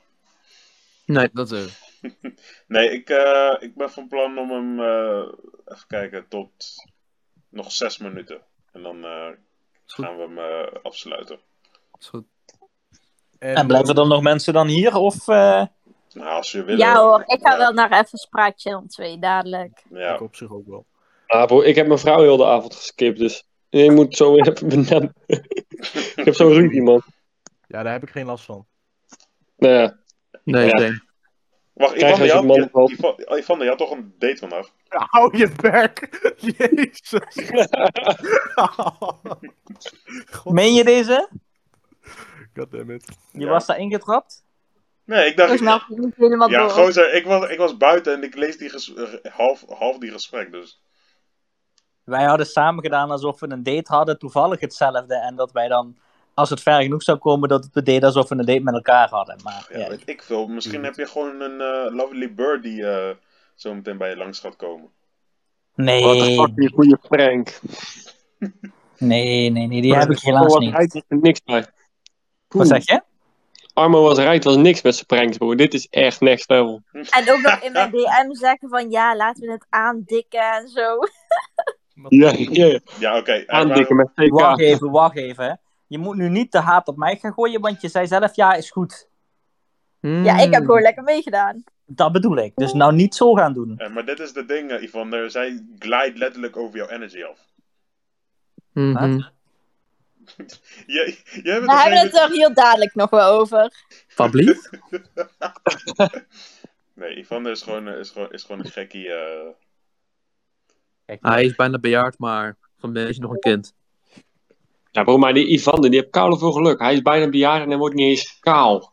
F: Nee,
A: Dat zo.
B: Nee, ik, eh, ik ben van plan om hem, eh, even kijken, tot nog zes minuten. En dan eh,
A: Is goed.
B: gaan we hem eh, afsluiten.
A: Is goed.
C: En blijven dan nog mensen dan hier? Of, eh,
B: Nou, als je wil.
D: Ja
B: hoor.
D: hoor, ik ga
B: Ja.
D: wel naar even Spraak Channel 2 dadelijk.
G: Ik
B: Ja,
G: op zich ook wel.
E: Ah, broer, ik heb mijn vrouw heel de avond geskipt, dus... Je moet zo weer even benaderen. (laughs) ik heb zo'n ruzie, man.
G: Ja, daar heb ik geen last van.
E: Nou ja.
F: nee,
E: Ja.
F: nee.
B: Wacht,
E: Krijg
B: Ivan, je,
E: als je
B: had-
E: man
B: je-
E: valt.
B: Ivan- Ivan, je had toch een date vandaag?
G: Hou je bek! (laughs) Jezus!
C: meen je deze?
G: (laughs) Goddammit.
C: Je
B: Ja.
C: was daar ingetrapt?
B: Nee, ik
D: Dus
B: dacht.
D: nou ik niet helemaal
B: ja,
D: door.
B: gozer, ik was, ik was buiten en ik lees die ges- eh, half, half die gesprek, dus.
C: Wij hadden samen gedaan alsof we een date hadden, toevallig hetzelfde. En dat wij dan, als het ver genoeg zou komen, dat we deden alsof we een date met elkaar hadden. Maar
B: Ja,
C: ja,
B: weet ik veel.
E: Mm.
B: Misschien heb je gewoon een eh, lovely bird die eh, zo meteen bij je langs gaat komen.
E: Wat een
C: Nee,
E: fucking goede prank.
C: nee, nee, nee, die
E: Maar
C: heb ik
E: Armo
C: helaas
E: was
C: niet.
E: Rijt was er niks bij.
C: Wat zeg je?
E: Armo was rijdt was niks met zijn pranks, broer. Dit is echt next level.
D: En ook nog in mijn DM zeggen van ja, laten we het aandikken en zo.
E: Ja, ja.
B: Ja, oké. eh, hij
E: Aandikken met
C: Wacht
E: CK.
C: even, wacht even. Je moet nu niet de haat op mij gaan gooien, want je zei zelf ja, is goed.
D: Ja, ik heb gewoon lekker meegedaan.
C: Dat bedoel ik. Dus nou niet zo gaan doen.
B: Eh, maar dit is de ding, eh, Yvonne. eh, Zij glijdt letterlijk over jouw energy af.
F: Mhm.
B: Jij, jij bent
D: We hebben
B: een
D: het er heel dadelijk nog wel over.
F: Fablief?
B: Nee, Yvonne is gewoon, eh, is gewoon, is gewoon een gekkie. eh.
E: Ah,
F: Hij is bijna bejaard, maar van beetje nog een kind.
E: Ja, broer, maar die Ivan, die heeft koude veel geluk. Hij is bijna bejaard en hij wordt niet eens kaal.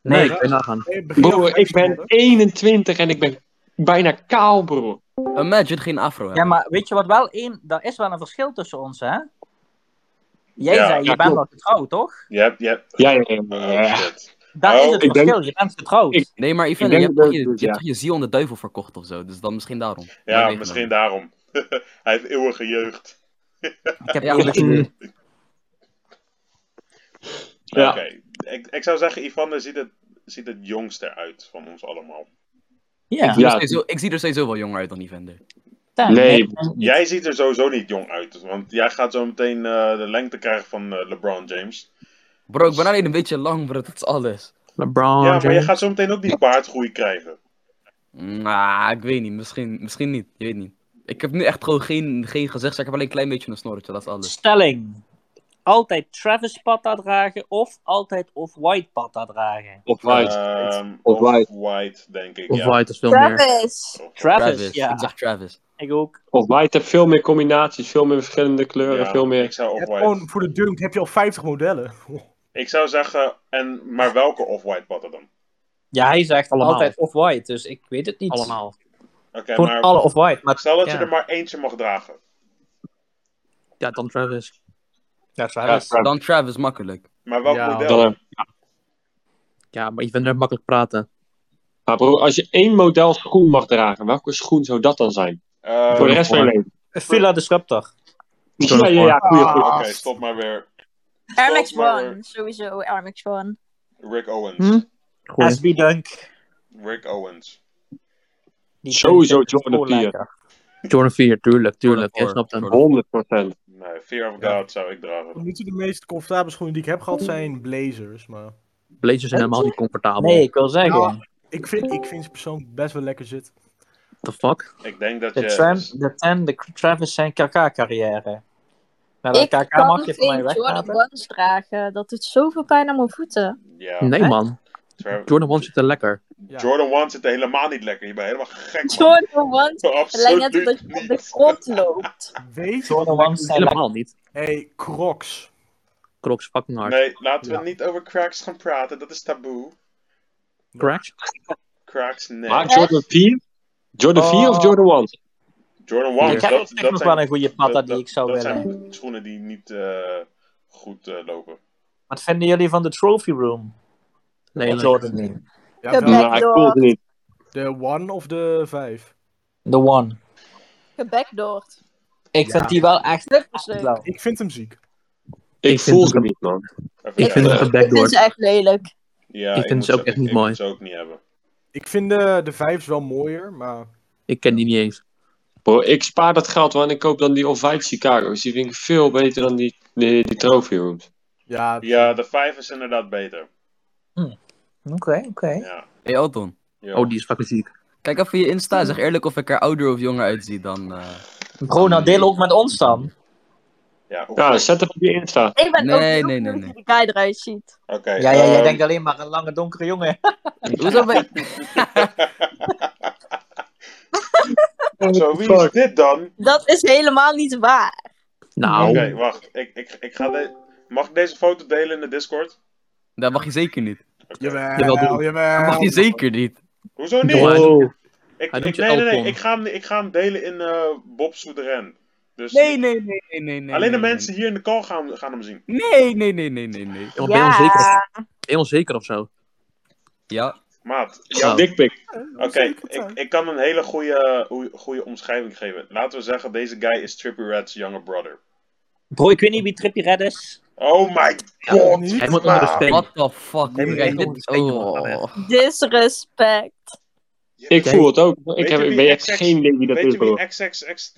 F: Nee,
C: Nee.
F: ik ben nagaan.
G: Hey, begin over
E: Broer, ik ben
G: uitgescholden.
E: 21 en ik ben bijna kaal, broer.
A: Imagine geen afro
C: Ja,
A: hebben.
C: maar weet je wat wel? Eén, er is wel een verschil tussen ons, hè? Jij
B: Ja,
C: zei, je
E: ja,
C: bent
E: klopt.
C: nog getrouwd, toch?
B: Je hebt, je hebt...
E: Ja, ja,
B: Oh,
E: ja.
B: shit.
C: Dat
B: Oh,
C: is het
E: ik
C: verschil,
E: denk-
C: je bent getrouwd.
E: ik-
A: Nee, maar Ivan,
E: Ik
A: je
E: denk
A: hebt
E: dat
A: toch je,
E: het,
A: je hebt
E: ja.
A: toch je ziel aan de duivel verkocht of zo? Dus dan misschien daarom. Maar
B: Ja,
A: weet ik
B: misschien
A: niet.
B: daarom. (laughs) Hij heeft eeuwige jeugd.
C: Ik heb
A: Ja,
C: eerlijk gezegd-
E: Ja.
B: Oké. Ik, ik zou zeggen, Yvonne ziet het, ziet het jongste uit van ons allemaal.
C: Ja,
A: Ik zie er
E: Ja.
A: sowieso- Ik zie er sowieso wel jonger uit dan Evander.
C: daar,
E: Nee,
B: Jij ziet er sowieso niet jong uit. Want jij gaat zo meteen eh, de lengte krijgen van eh, LeBron James.
A: Bro, ik ben alleen een beetje lang, bro. Dat is alles.
F: LeBron
B: ja, maar jij
F: James.
B: gaat zo meteen ook die baardgroei krijgen.
A: Nou, ik weet niet. Misschien, misschien niet. Je weet niet. Ik heb nu echt gewoon geen, geen gezegd. Ik heb alleen een klein beetje een snorretje. Dat is alles.
C: Stelling. Altijd Travis patta dragen of altijd Off-White patta dragen?
E: of white.
B: Ehm,
E: Of white.
B: white, denk ik.
F: Of
B: ja.
F: White is veel meer.
D: Travis!
C: Travis,
A: Travis.
C: ja.
A: Ik zeg Travis.
C: Ik ook.
E: Of white heeft veel meer combinaties, veel meer verschillende kleuren,
B: Ja,
E: veel
B: Ik
E: meer...
B: zou
G: Je hebt
B: off-white.
G: Gewoon voor de dunk heb je al 50 modellen. (laughs)
B: Ik zou zeggen, en, maar welke off-white patten dan?
C: Ja, hij zegt
F: Allemaal.
C: altijd Off-White, dus ik weet het niet.
F: Allemaal.
B: Oké,
C: Gewoon
B: maar
C: alle Off-White. Maar
B: stel dat je
F: ja.
B: er maar eentje mag dragen.
F: Ja, dan Travis.
C: ja,
E: Ja,
C: Travis.
A: Dan Travis makkelijk.
B: Maar welk
G: Ja,
B: model?
E: dan- eh,
F: Ja, maar je vindt er makkelijk praten.
E: Maar broer, als je één model schoen mag dragen, welke schoen zou dat dan zijn?
B: Eh,
E: Voor de rest van je
F: Jordan
E: leven.
C: Villa Disruptor.
F: Jordan
E: Ja, ja, ja, goeie,
G: Ah.
E: goeie.
B: Oké, stop maar weer.
D: Air
B: Stop
D: Max
B: maar
D: 1, sowieso Air Max 1.
B: weer. Rick Owens.
F: Hm? Goeie.
C: SB Dunk.
B: Rick Owens.
C: Die
E: Sowieso
C: dunk is
E: Jordan
C: zo
E: 4.
C: lekker.
F: Jordan 4, tuurlijk,
A: Jordan
F: tuurlijk. Jij
A: four.
F: snapt hem.
A: Jordan-
E: 100%.
B: Nee, Fear of
G: Ja.
B: God zou ik
G: Tot
B: dragen.
G: nu toe de meest comfortabele schoenen die ik heb gehad zijn blazers. Maar
F: Blazers zijn helemaal niet comfortabel.
C: Nee, ik wil zeggen.
G: Nou, ik vind, ik vind ze persoonlijk best wel lekker zitten.
F: The fuck?
B: Ik denk dat
C: De,
B: je...
C: tram, de Ten, de Travis zijn KK-carrière. Nou, dat
D: Ik
C: KK
D: kan
C: mag je van mij
D: geen
C: weg.
D: Jordan 1 dragen. Dat doet zoveel pijn aan mijn voeten. (laughs)
B: Ja,
F: Nee man,
B: Tra-
F: Jordan 1 zit er lekker.
G: Ja.
B: Jordan 1 zit er helemaal niet lekker. Je bent helemaal
F: (laughs)
B: gek. man.
D: Jordan 1 het lijkt net
B: Absoluut
D: dat je op de
B: niet.
D: grond (laughs) loopt.
G: Weet je?
C: Jordan Ones zijn lekker.
F: Helemaal niet.
G: Hey, Crocs.
F: Crocs fucking hard.
B: Nee, laten we
G: Ja.
B: niet over cracks gaan praten. Dat is taboe.
F: Cracks?
B: Cracks, nee.
E: Maar Jordan 4? Jordan
C: Oh.
E: 4 of Jordan 1?
B: Jordan
C: Ja,
B: 1,
C: ik heb
B: dat,
C: op zich
B: dat
C: nog wel een
B: zijn...
C: goede patta
B: dat-
C: die
B: dat-
C: ik zou
B: dat
C: willen.
B: zijn schoenen die niet eh, goed eh, lopen.
C: Wat vinden jullie van de trophy room?
F: Nee,
C: Of
F: nee.
C: Jordan niet.
D: Ja,
G: Ja, wel.
D: Black
E: Nou, ik
D: Dog.
E: voel het niet.
G: De one of de vijf.
C: De one.
D: Gebackdoord.
C: Ik vind die wel echt...
D: Snuppersluk.
G: Ik vind hem ziek.
E: Ik,
F: Ik vind
E: voel ze
F: het-
E: niet, man.
B: Even
F: Ik
B: kijken.
F: vind het een
D: Ik vind
F: backdoor.
D: ze echt lelijk.
B: Ja,
F: Ik vind
B: moet
F: ze ook echt niet
B: ik
F: mooi.
B: moet ze ook niet hebben.
G: Ik vind de, de vijf's wel mooier, maar
F: Ik ken die niet eens.
E: Bro, ik spaar dat geld wel en ik koop dan die Off-White Chicago's. Die vind ik veel beter dan die, die, die Trophy Rooms.
G: ja,
B: Ja, de 5 is inderdaad beter.
C: Oké, oké.
B: Ja.
A: Hey Alton.
B: Ja.
F: Oh, die is fucking ziek.
A: Kijk even je Insta. Zeg eerlijk of ik er ouder of jonger uitzie dan... eh,
C: Bro, nou deel ook met ons dan.
B: Ja, oké.
E: Ja, zet het op je Insta.
D: Ik ben
A: Nee,
D: ook heel
A: nee, nee,
D: benieuwd
A: nee.
D: hoe die guy eruit ziet.
B: Oké,
C: Ja, ja, jij
B: ehm,
C: denkt alleen maar een lange donkere jongen.
A: Hoezo ben
B: Zo, wie is dit dan?
D: Dat is helemaal niet waar.
B: Oké,
E: Oh.
F: Nou,
B: wacht. Ik, ik, ik ga de... Mag ik deze foto delen in de Discord?
A: (laughs) Dat mag je zeker niet.
B: Oké.
F: Jawel,
G: jawel,
F: doe.
A: Dat
G: jawel.
A: mag je zeker niet.
B: Hoezo niet?
F: Doe maar.
E: Oh,
B: Ik,
F: Hij
B: ik,
F: doet je
B: nee, nee, nee.
F: elpon.
B: Ik ga, hem, ik ga hem delen in eh Bob Soederen. Dus
A: Nee, nee, nee, nee, nee. nee nee,
B: alleen de
A: nee.
B: mensen hier in de call gaan, gaan hem zien.
A: Nee, nee, nee, nee, nee, nee.
F: ben je onzeker? Ben je onzeker of zo?
A: Ja,
B: Maat,
E: Ja. Dikpik.
B: oké, ik, ik kan een hele goede, goede omschrijving geven. Laten we zeggen, deze guy is Trippy Red's younger brother.
C: Bro, ik weet niet wie Trippy Red is.
B: Oh my god!
G: niet.
I: Hij moet onder de
B: maat.
I: steen.
A: What the fuck?
I: Nee,
A: Kijk,
I: nee,
A: dit-
I: nee, nee,
A: oh.
I: nee, nee.
D: Disrespect.
E: Ik
I: Jij-
E: voel het ook. Ik,
B: Weet
E: heb,
B: je
E: ik
B: wie
E: weet echt
B: XX
E: geen idee wie dat
B: Weet
E: is,
B: je
E: bro.
B: wie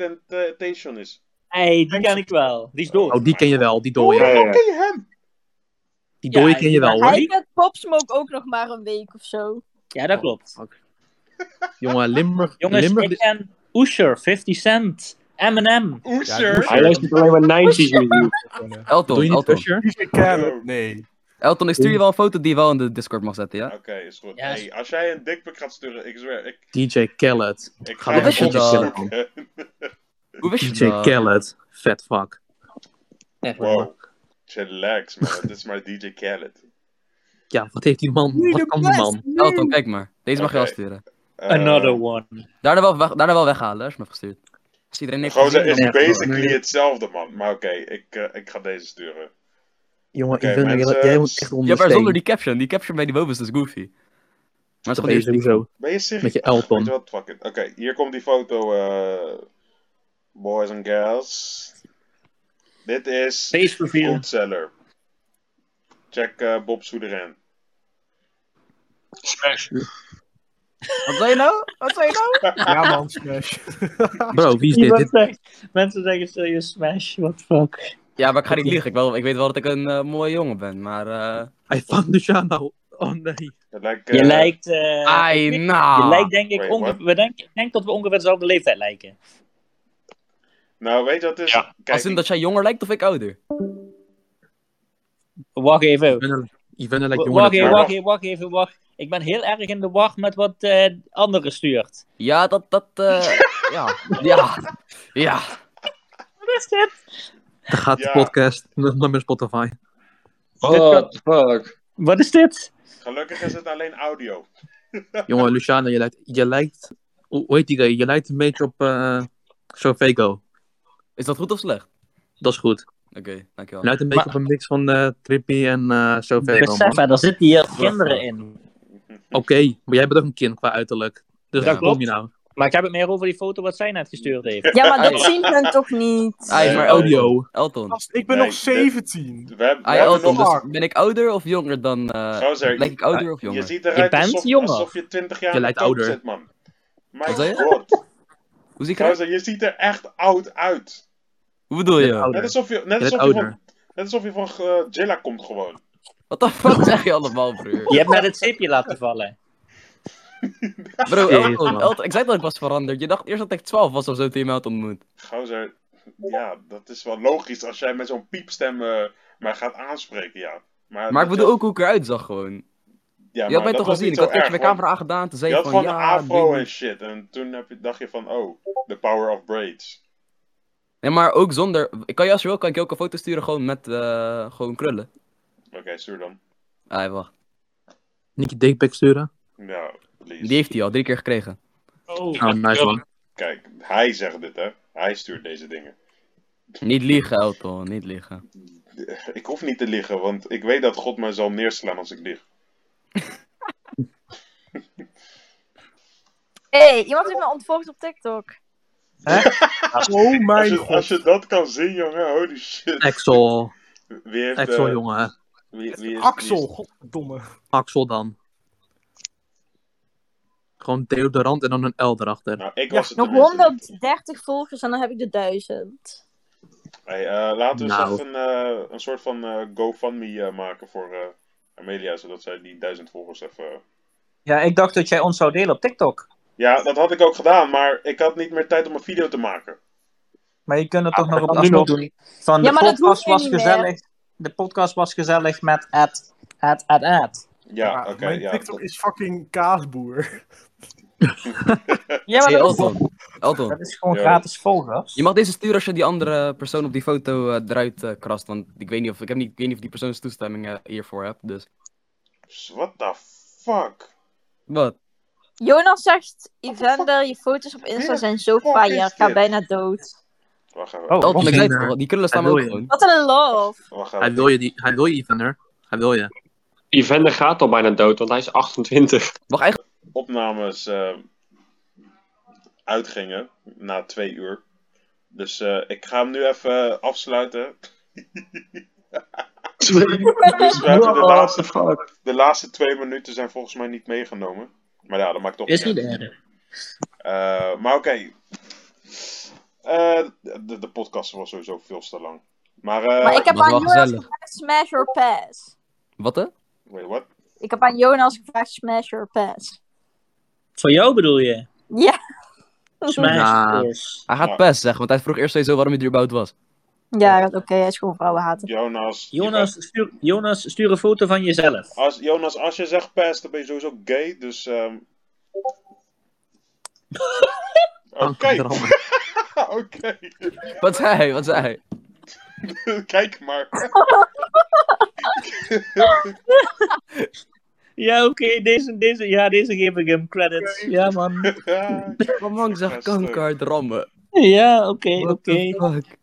B: XXXTentacion is?
C: Hey, die ken ik wel. Die is dood.
I: Oh, die ken je wel, die
B: Hoe
I: dode.
E: ja, ja.
B: ken je hem?
I: Die dode
C: Ja,
I: ken je wel,
D: Hij
I: hoor.
D: kent Popsmoke ook nog maar een week of zo.
C: Ja, dat klopt.
I: Jongen, Limburg.
C: Jongens,
I: Limburg
C: ik ken Usher, 50 Cent, M&M. Eminem.
B: Oeser?
E: Hij luistert alleen maar 90s muziek.
I: doe
A: Elton,
I: je niet
A: Elton.
I: Usher?
G: DJ
B: Oh.
G: Khaled. Nee.
A: Elton, ik stuur je wel een foto die je wel in de Discord mag zetten, ja?
B: Oké, is goed.
C: Ja,
B: Hey, als jij een dikpik gaat sturen, ik zweer, ik,
I: DJ Khaled.
B: ik
I: Ga
B: ga
A: maar
I: maar
A: wist je
I: even
B: hem
A: dat?
I: opzoeken.
B: opzoeken.
A: Hoe wist je
I: DJ
A: dat?
I: Khaled. Vet fuck. Echt waar,
B: (laughs)
I: man.
B: Wow. Chillax, man. Dit is maar DJ Khaled.
I: Ja, wat heeft die man? Wat kan die man?
A: Elton, kijk maar. Deze mag je wel
B: Oké.
A: sturen.
B: Eh,
C: Another one.
A: Daarna wel, weg, daarna wel weghalen, hè, als je me hebt gestuurd. Als iedereen heeft
B: Gozer
A: gezien,
B: is
I: Ja,
B: basically
I: nee.
B: hetzelfde, man. Maar oké, ik, eh, ik ga deze sturen.
I: Jongen,
B: Oké,
I: ik ben
B: mensen,
I: jij- jij moet echt
A: Ja,
I: onder de
A: maar zonder
I: steen.
A: die caption. Die caption bij die boven is dus goofy. Maar
I: Dat
A: het
I: ben je
A: is gewoon
I: (laughs) sowieso.
B: Ben je serieus?
I: Met je Elton.
B: Weet je wat, fuck it. Oké, hier komt die foto, eh, boys and girls. Dit is
C: Face reveal.
B: Goldseller. Check eh, Bob Soederen.
E: Smash.
A: Wat zei je nou? Wat zei je nou?
G: Ja, man, smash. (laughs)
I: Bro, wie is dit?
C: Iemand
I: Dit-
C: zegt- mensen zeggen serieus smash, what the fuck.
A: Ja, maar ik ga niet liegen. Ik, wel, ik weet wel dat ik een eh, mooie jongen ben, maar... eh
I: Hij vangt Luciano. Oh nee.
B: Dat lijkt,
C: Je
B: eh,
C: lijkt... eh,
A: Ai,
C: ik weet-
A: nou.
C: je lijkt denk ik...
B: Wait,
C: onge-
B: what?
C: we denk, ik denk dat we ongeveer dezelfde leeftijd lijken.
B: Nou, weet je wat het is?
E: Ja.
B: Kijk,
A: Als in dat jij jonger lijkt of ik ouder?
C: Wacht even.
I: Yvonne
C: Wacht,
I: lijkt jonger dan
C: wacht even,
I: jou.
C: wacht even, wacht even, wacht. Ik ben heel erg in de war met wat eh anderen stuurt.
A: Ja, dat... dat eh,
B: (laughs)
A: ja. Ja. Ja.
C: Wat is dit?
I: Dan gaat
B: Ja.
I: de podcast naar mijn Spotify.
E: What the fuck?
C: Wat is dit?
B: gelukkig is het alleen audio.
I: Jongen, Luciano, je lijkt... Je lijkt hoe hoe heet die guy? Je lijkt een beetje op eh Sovego.
A: Is dat goed of slecht?
I: Dat is goed.
A: Oké, dankjewel.
B: Nou,
I: Je lijkt een beetje
C: Maar-
I: op een mix van eh Trippy en eh Sovego. man.
C: Besef, hè, daar zitten hier kinderen in.
I: Oké, maar jij bent ook een kind qua uiterlijk. Dus
A: Ja.
I: daar kom je
C: Klopt.
I: nou.
C: Maar ik heb het meer over die foto wat zij net gestuurd heeft.
D: Ja, maar Ah, dat
A: Ai.
D: zien hun toch niet?
I: Eh,
A: Ai, maar Elton.
I: Audio.
A: Elton.
G: Gast, Ik ben
B: Nee,
G: nog
B: dit-
G: 17.
B: We hebben, we
A: Ai,
B: hebben
A: Elton,
B: nog...
A: dus ben ik ouder of jonger dan... eh
B: Gozer,
A: lijk ik ouder of
B: Nou, je
A: jonger?
B: ziet eruit
C: Je bent
B: alsof,
C: jonger.
B: alsof je 20 jaar in
I: Je
B: de
I: lijkt
B: koop
I: ouder.
B: zit, man. My
A: Wat zei je?
B: god.
A: Hoe zie ik eruit?
B: Gozer, je ziet er echt oud uit.
A: Hoe bedoel
I: Je
A: je?
I: lijkt
B: Net
I: ouder.
B: alsof je, net
I: Je
B: alsof
I: bent
B: je
I: ouder.
B: van... Net alsof je van eh, Jilla komt gewoon.
A: Wat de
B: (laughs)
A: fuck (laughs) zeg je allemaal, broer?
C: Je hebt net het zeepje laten vallen.
A: Bro,
I: Jezus,
A: Elton,
I: man.
A: Elton, ik zei dat ik was veranderd. Je dacht eerst dat ik 12 was of zo toen je mij had ontmoet.
B: Gozer, ja, dat is wel logisch als jij met zo'n piepstem eh mij gaat aanspreken, ja. Maar,
A: Maar ik
B: dat
A: bedoel
B: je-
A: ook hoe ik eruit zag gewoon.
B: ja,
A: Je
B: maar
A: had mij
B: dat
A: toch
B: was
A: gezien?
B: niet
A: Ik
B: zo
A: had eerst
B: erg,
A: mijn
B: want
A: camera aangedaan. Toen zei
B: Je
A: je
B: had
A: van
B: gewoon
A: ja,
B: afro
A: ding.
B: en shit. En toen heb je, dacht je van, oh, the power of braids.
A: Nee, maar ook zonder. Ik kan je als je wil, kan ik je ook een foto sturen gewoon met eh, gewoon krullen.
B: Oké, stuur dan.
A: Ah, wacht.
I: Niet je dickpic sturen.
B: Nou, please.
A: Die heeft hij al drie keer gekregen.
I: Oh, nice man.
B: Kijk, hij zegt dit, hè. Hij stuurt deze dingen.
A: Niet liegen, Elton, niet liegen.
B: Ik hoef niet te liegen, want ik weet dat God mij zal neerslaan als ik lieg.
D: Hé, hey, iemand heeft me ontvolgd op TikTok.
G: Oh
B: (laughs) Als
G: mijn
B: je, als
G: god.
B: je dat kan zien, jongen, holy shit.
I: Axel.
B: Wie heeft...
I: Axel,
B: eh,
I: jongen.
B: wie, wie is,
G: Axel,
B: wie
G: goddomme.
I: Axel dan. Gewoon deodorant en dan een L erachter.
B: is- nou, ik
G: Ja,
B: was het
D: Nog
B: tenminste niet.
D: 130 volgers en dan heb ik de 1000.
B: Hey, eh, laten we
I: Nou.
B: eens even eh, een soort van eh, GoFundMe eh, maken voor eh, Amelia, zodat zij die duizend volgers even...
C: Ja, ik dacht dat jij ons zou delen op TikTok.
B: Ja, dat had ik ook gedaan, maar ik had niet meer tijd om een video te maken.
C: Maar je kunt het toch nog op
E: kan nu
C: afstand
E: nog.
C: doen. Van
D: Ja,
C: de
D: maar dat
C: podcast
D: hoeft nu
C: was
D: niet meer.
C: gezellig. De podcast was gezellig met ad, ad, ad, ad.
B: Ja, oké,
G: mijn
B: ja.
G: TikTok
B: dat-
G: is fucking kaasboer.
C: Ja, maar
A: Hey,
C: dat, is,
A: Elton. Elton,
C: dat is gewoon
B: Ja.
C: gratis volgers.
A: je mag deze sturen als je die andere persoon op die foto eh, eruit eh, krast. Want ik weet niet of ik, heb niet, ik weet niet of die persoons toestemming eh, hiervoor heb. Dus.
B: What the fuck?
A: Wat?
D: Jonas zegt, Evander, je foto's op Insta
B: Wie
D: zijn zo
B: fuck
D: fire.
B: is
D: Ik ga
B: dit?
D: bijna dood.
B: Wacht even.
C: Oh,
A: Elton, ik zei het
I: Misschien,
A: al, die krullen staan
I: hij
A: ook
I: wil je.
D: (laughs)
A: gewoon.
D: Wat een love.
B: Wacht
I: Hij
B: even.
I: wil je, die, hij wil je Ethan, hè? Hij wil je.
E: Evander gaat al bijna dood, want hij is 28.
A: Mag echt
B: opnames eh, uitgingen na twee uur. Dus eh, ik ga hem nu even afsluiten. Dus buiten de, laatste, de laatste twee minuten zijn volgens mij niet meegenomen. Maar ja, dat maakt toch
C: Is
B: uit.
C: niet erg.
B: Eh, maar oké. Eh, de, de podcast was sowieso veel te lang. Maar, eh,
D: Maar ik heb
A: was
D: aan
A: wel
D: Jonas
A: gezellig.
D: gevraagd smash or pass.
A: Wat hè?
B: Wait, what?
D: Ik heb aan Jonas gevraagd smash or pass.
C: Voor jou bedoel je?
D: Ja.
C: Smash
A: Ja.
C: Force.
A: Hij gaat
B: Ja.
A: pest zeggen, want hij vroeg eerst sowieso waarom hij er überhaupt was.
D: Ja, oké, hij eh, is gewoon vrouwenhater.
B: Jonas. je
C: Jonas stuur, Jonas, stuur een foto van jezelf.
B: bent- Als, Jonas, als je zegt pest, dan ben je sowieso gay. Dus.
C: (laughs)
B: ehm Oké.
I: Godverdamme.
B: (laughs) Oké. (laughs)
A: Wat zei hij? Wat zei hij?
B: Kijk
C: (laughs)
B: maar.
C: Ja, oké, deze, deze, ja, deze geef ik hem credits. Ja, man. (laughs)
A: Wat man zegt
B: Best leuk.
A: kanker rammen.
C: Ja, oké, oké.
A: What the fuck?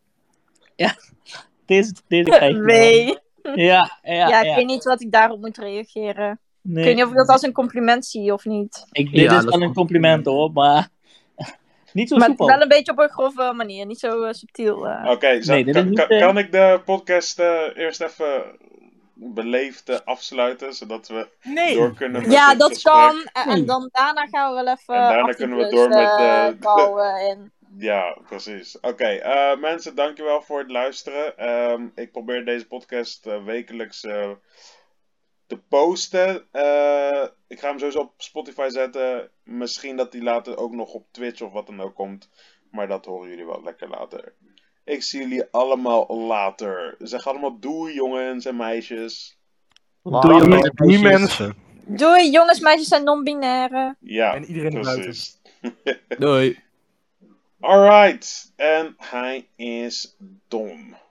C: Deze, deze krijg je, man.
D: Nee.
C: Ja, ja,
D: Ja,
C: ja.
D: ik weet niet wat ik daarop moet reageren.
C: Nee.
D: Ik weet niet of ik dat als een compliment zie of niet.
C: Ik, dit
I: Ja, dat
C: is
I: is
C: wel een
I: goed.
C: compliment hoor, maar (laughs) niet zo
D: Maar
C: soepel.
D: wel een beetje op een grove manier, niet zo eh, subtiel. eh.
B: Oké, zo-
C: Nee, dit is
B: kan,
C: niet,
B: kan-
C: eh,
B: kan ik de podcast eh, eerst even beleefd eh, afsluiten, zodat we door kunnen met
D: Ja,
B: dit
D: dat
B: gesprek.
D: kan. En,
C: Nee.
D: en dan daarna gaan we wel even.
B: En daarna
D: 18
B: kunnen we
D: plus,
B: door met,
D: eh,
B: eh,
D: call, eh, in.
B: Ja, precies. Oké, eh, mensen, dankjewel voor het luisteren. Ehm, ik probeer deze podcast eh, wekelijks eh, te posten. Eh, ik ga hem sowieso op Spotify zetten. Misschien dat die later ook nog op Twitch of wat dan ook komt. Maar dat horen jullie wel lekker later. Ik zie jullie allemaal later. Zeg allemaal doei, jongens en meisjes.
C: Doe je met
G: Niet mensen.
D: Doei, jongens, meisjes en non-binaire.
B: Ja,
G: En iedereen erbuiten.
B: precies. (laughs)
A: Doei.
B: Alright, en hij is dom.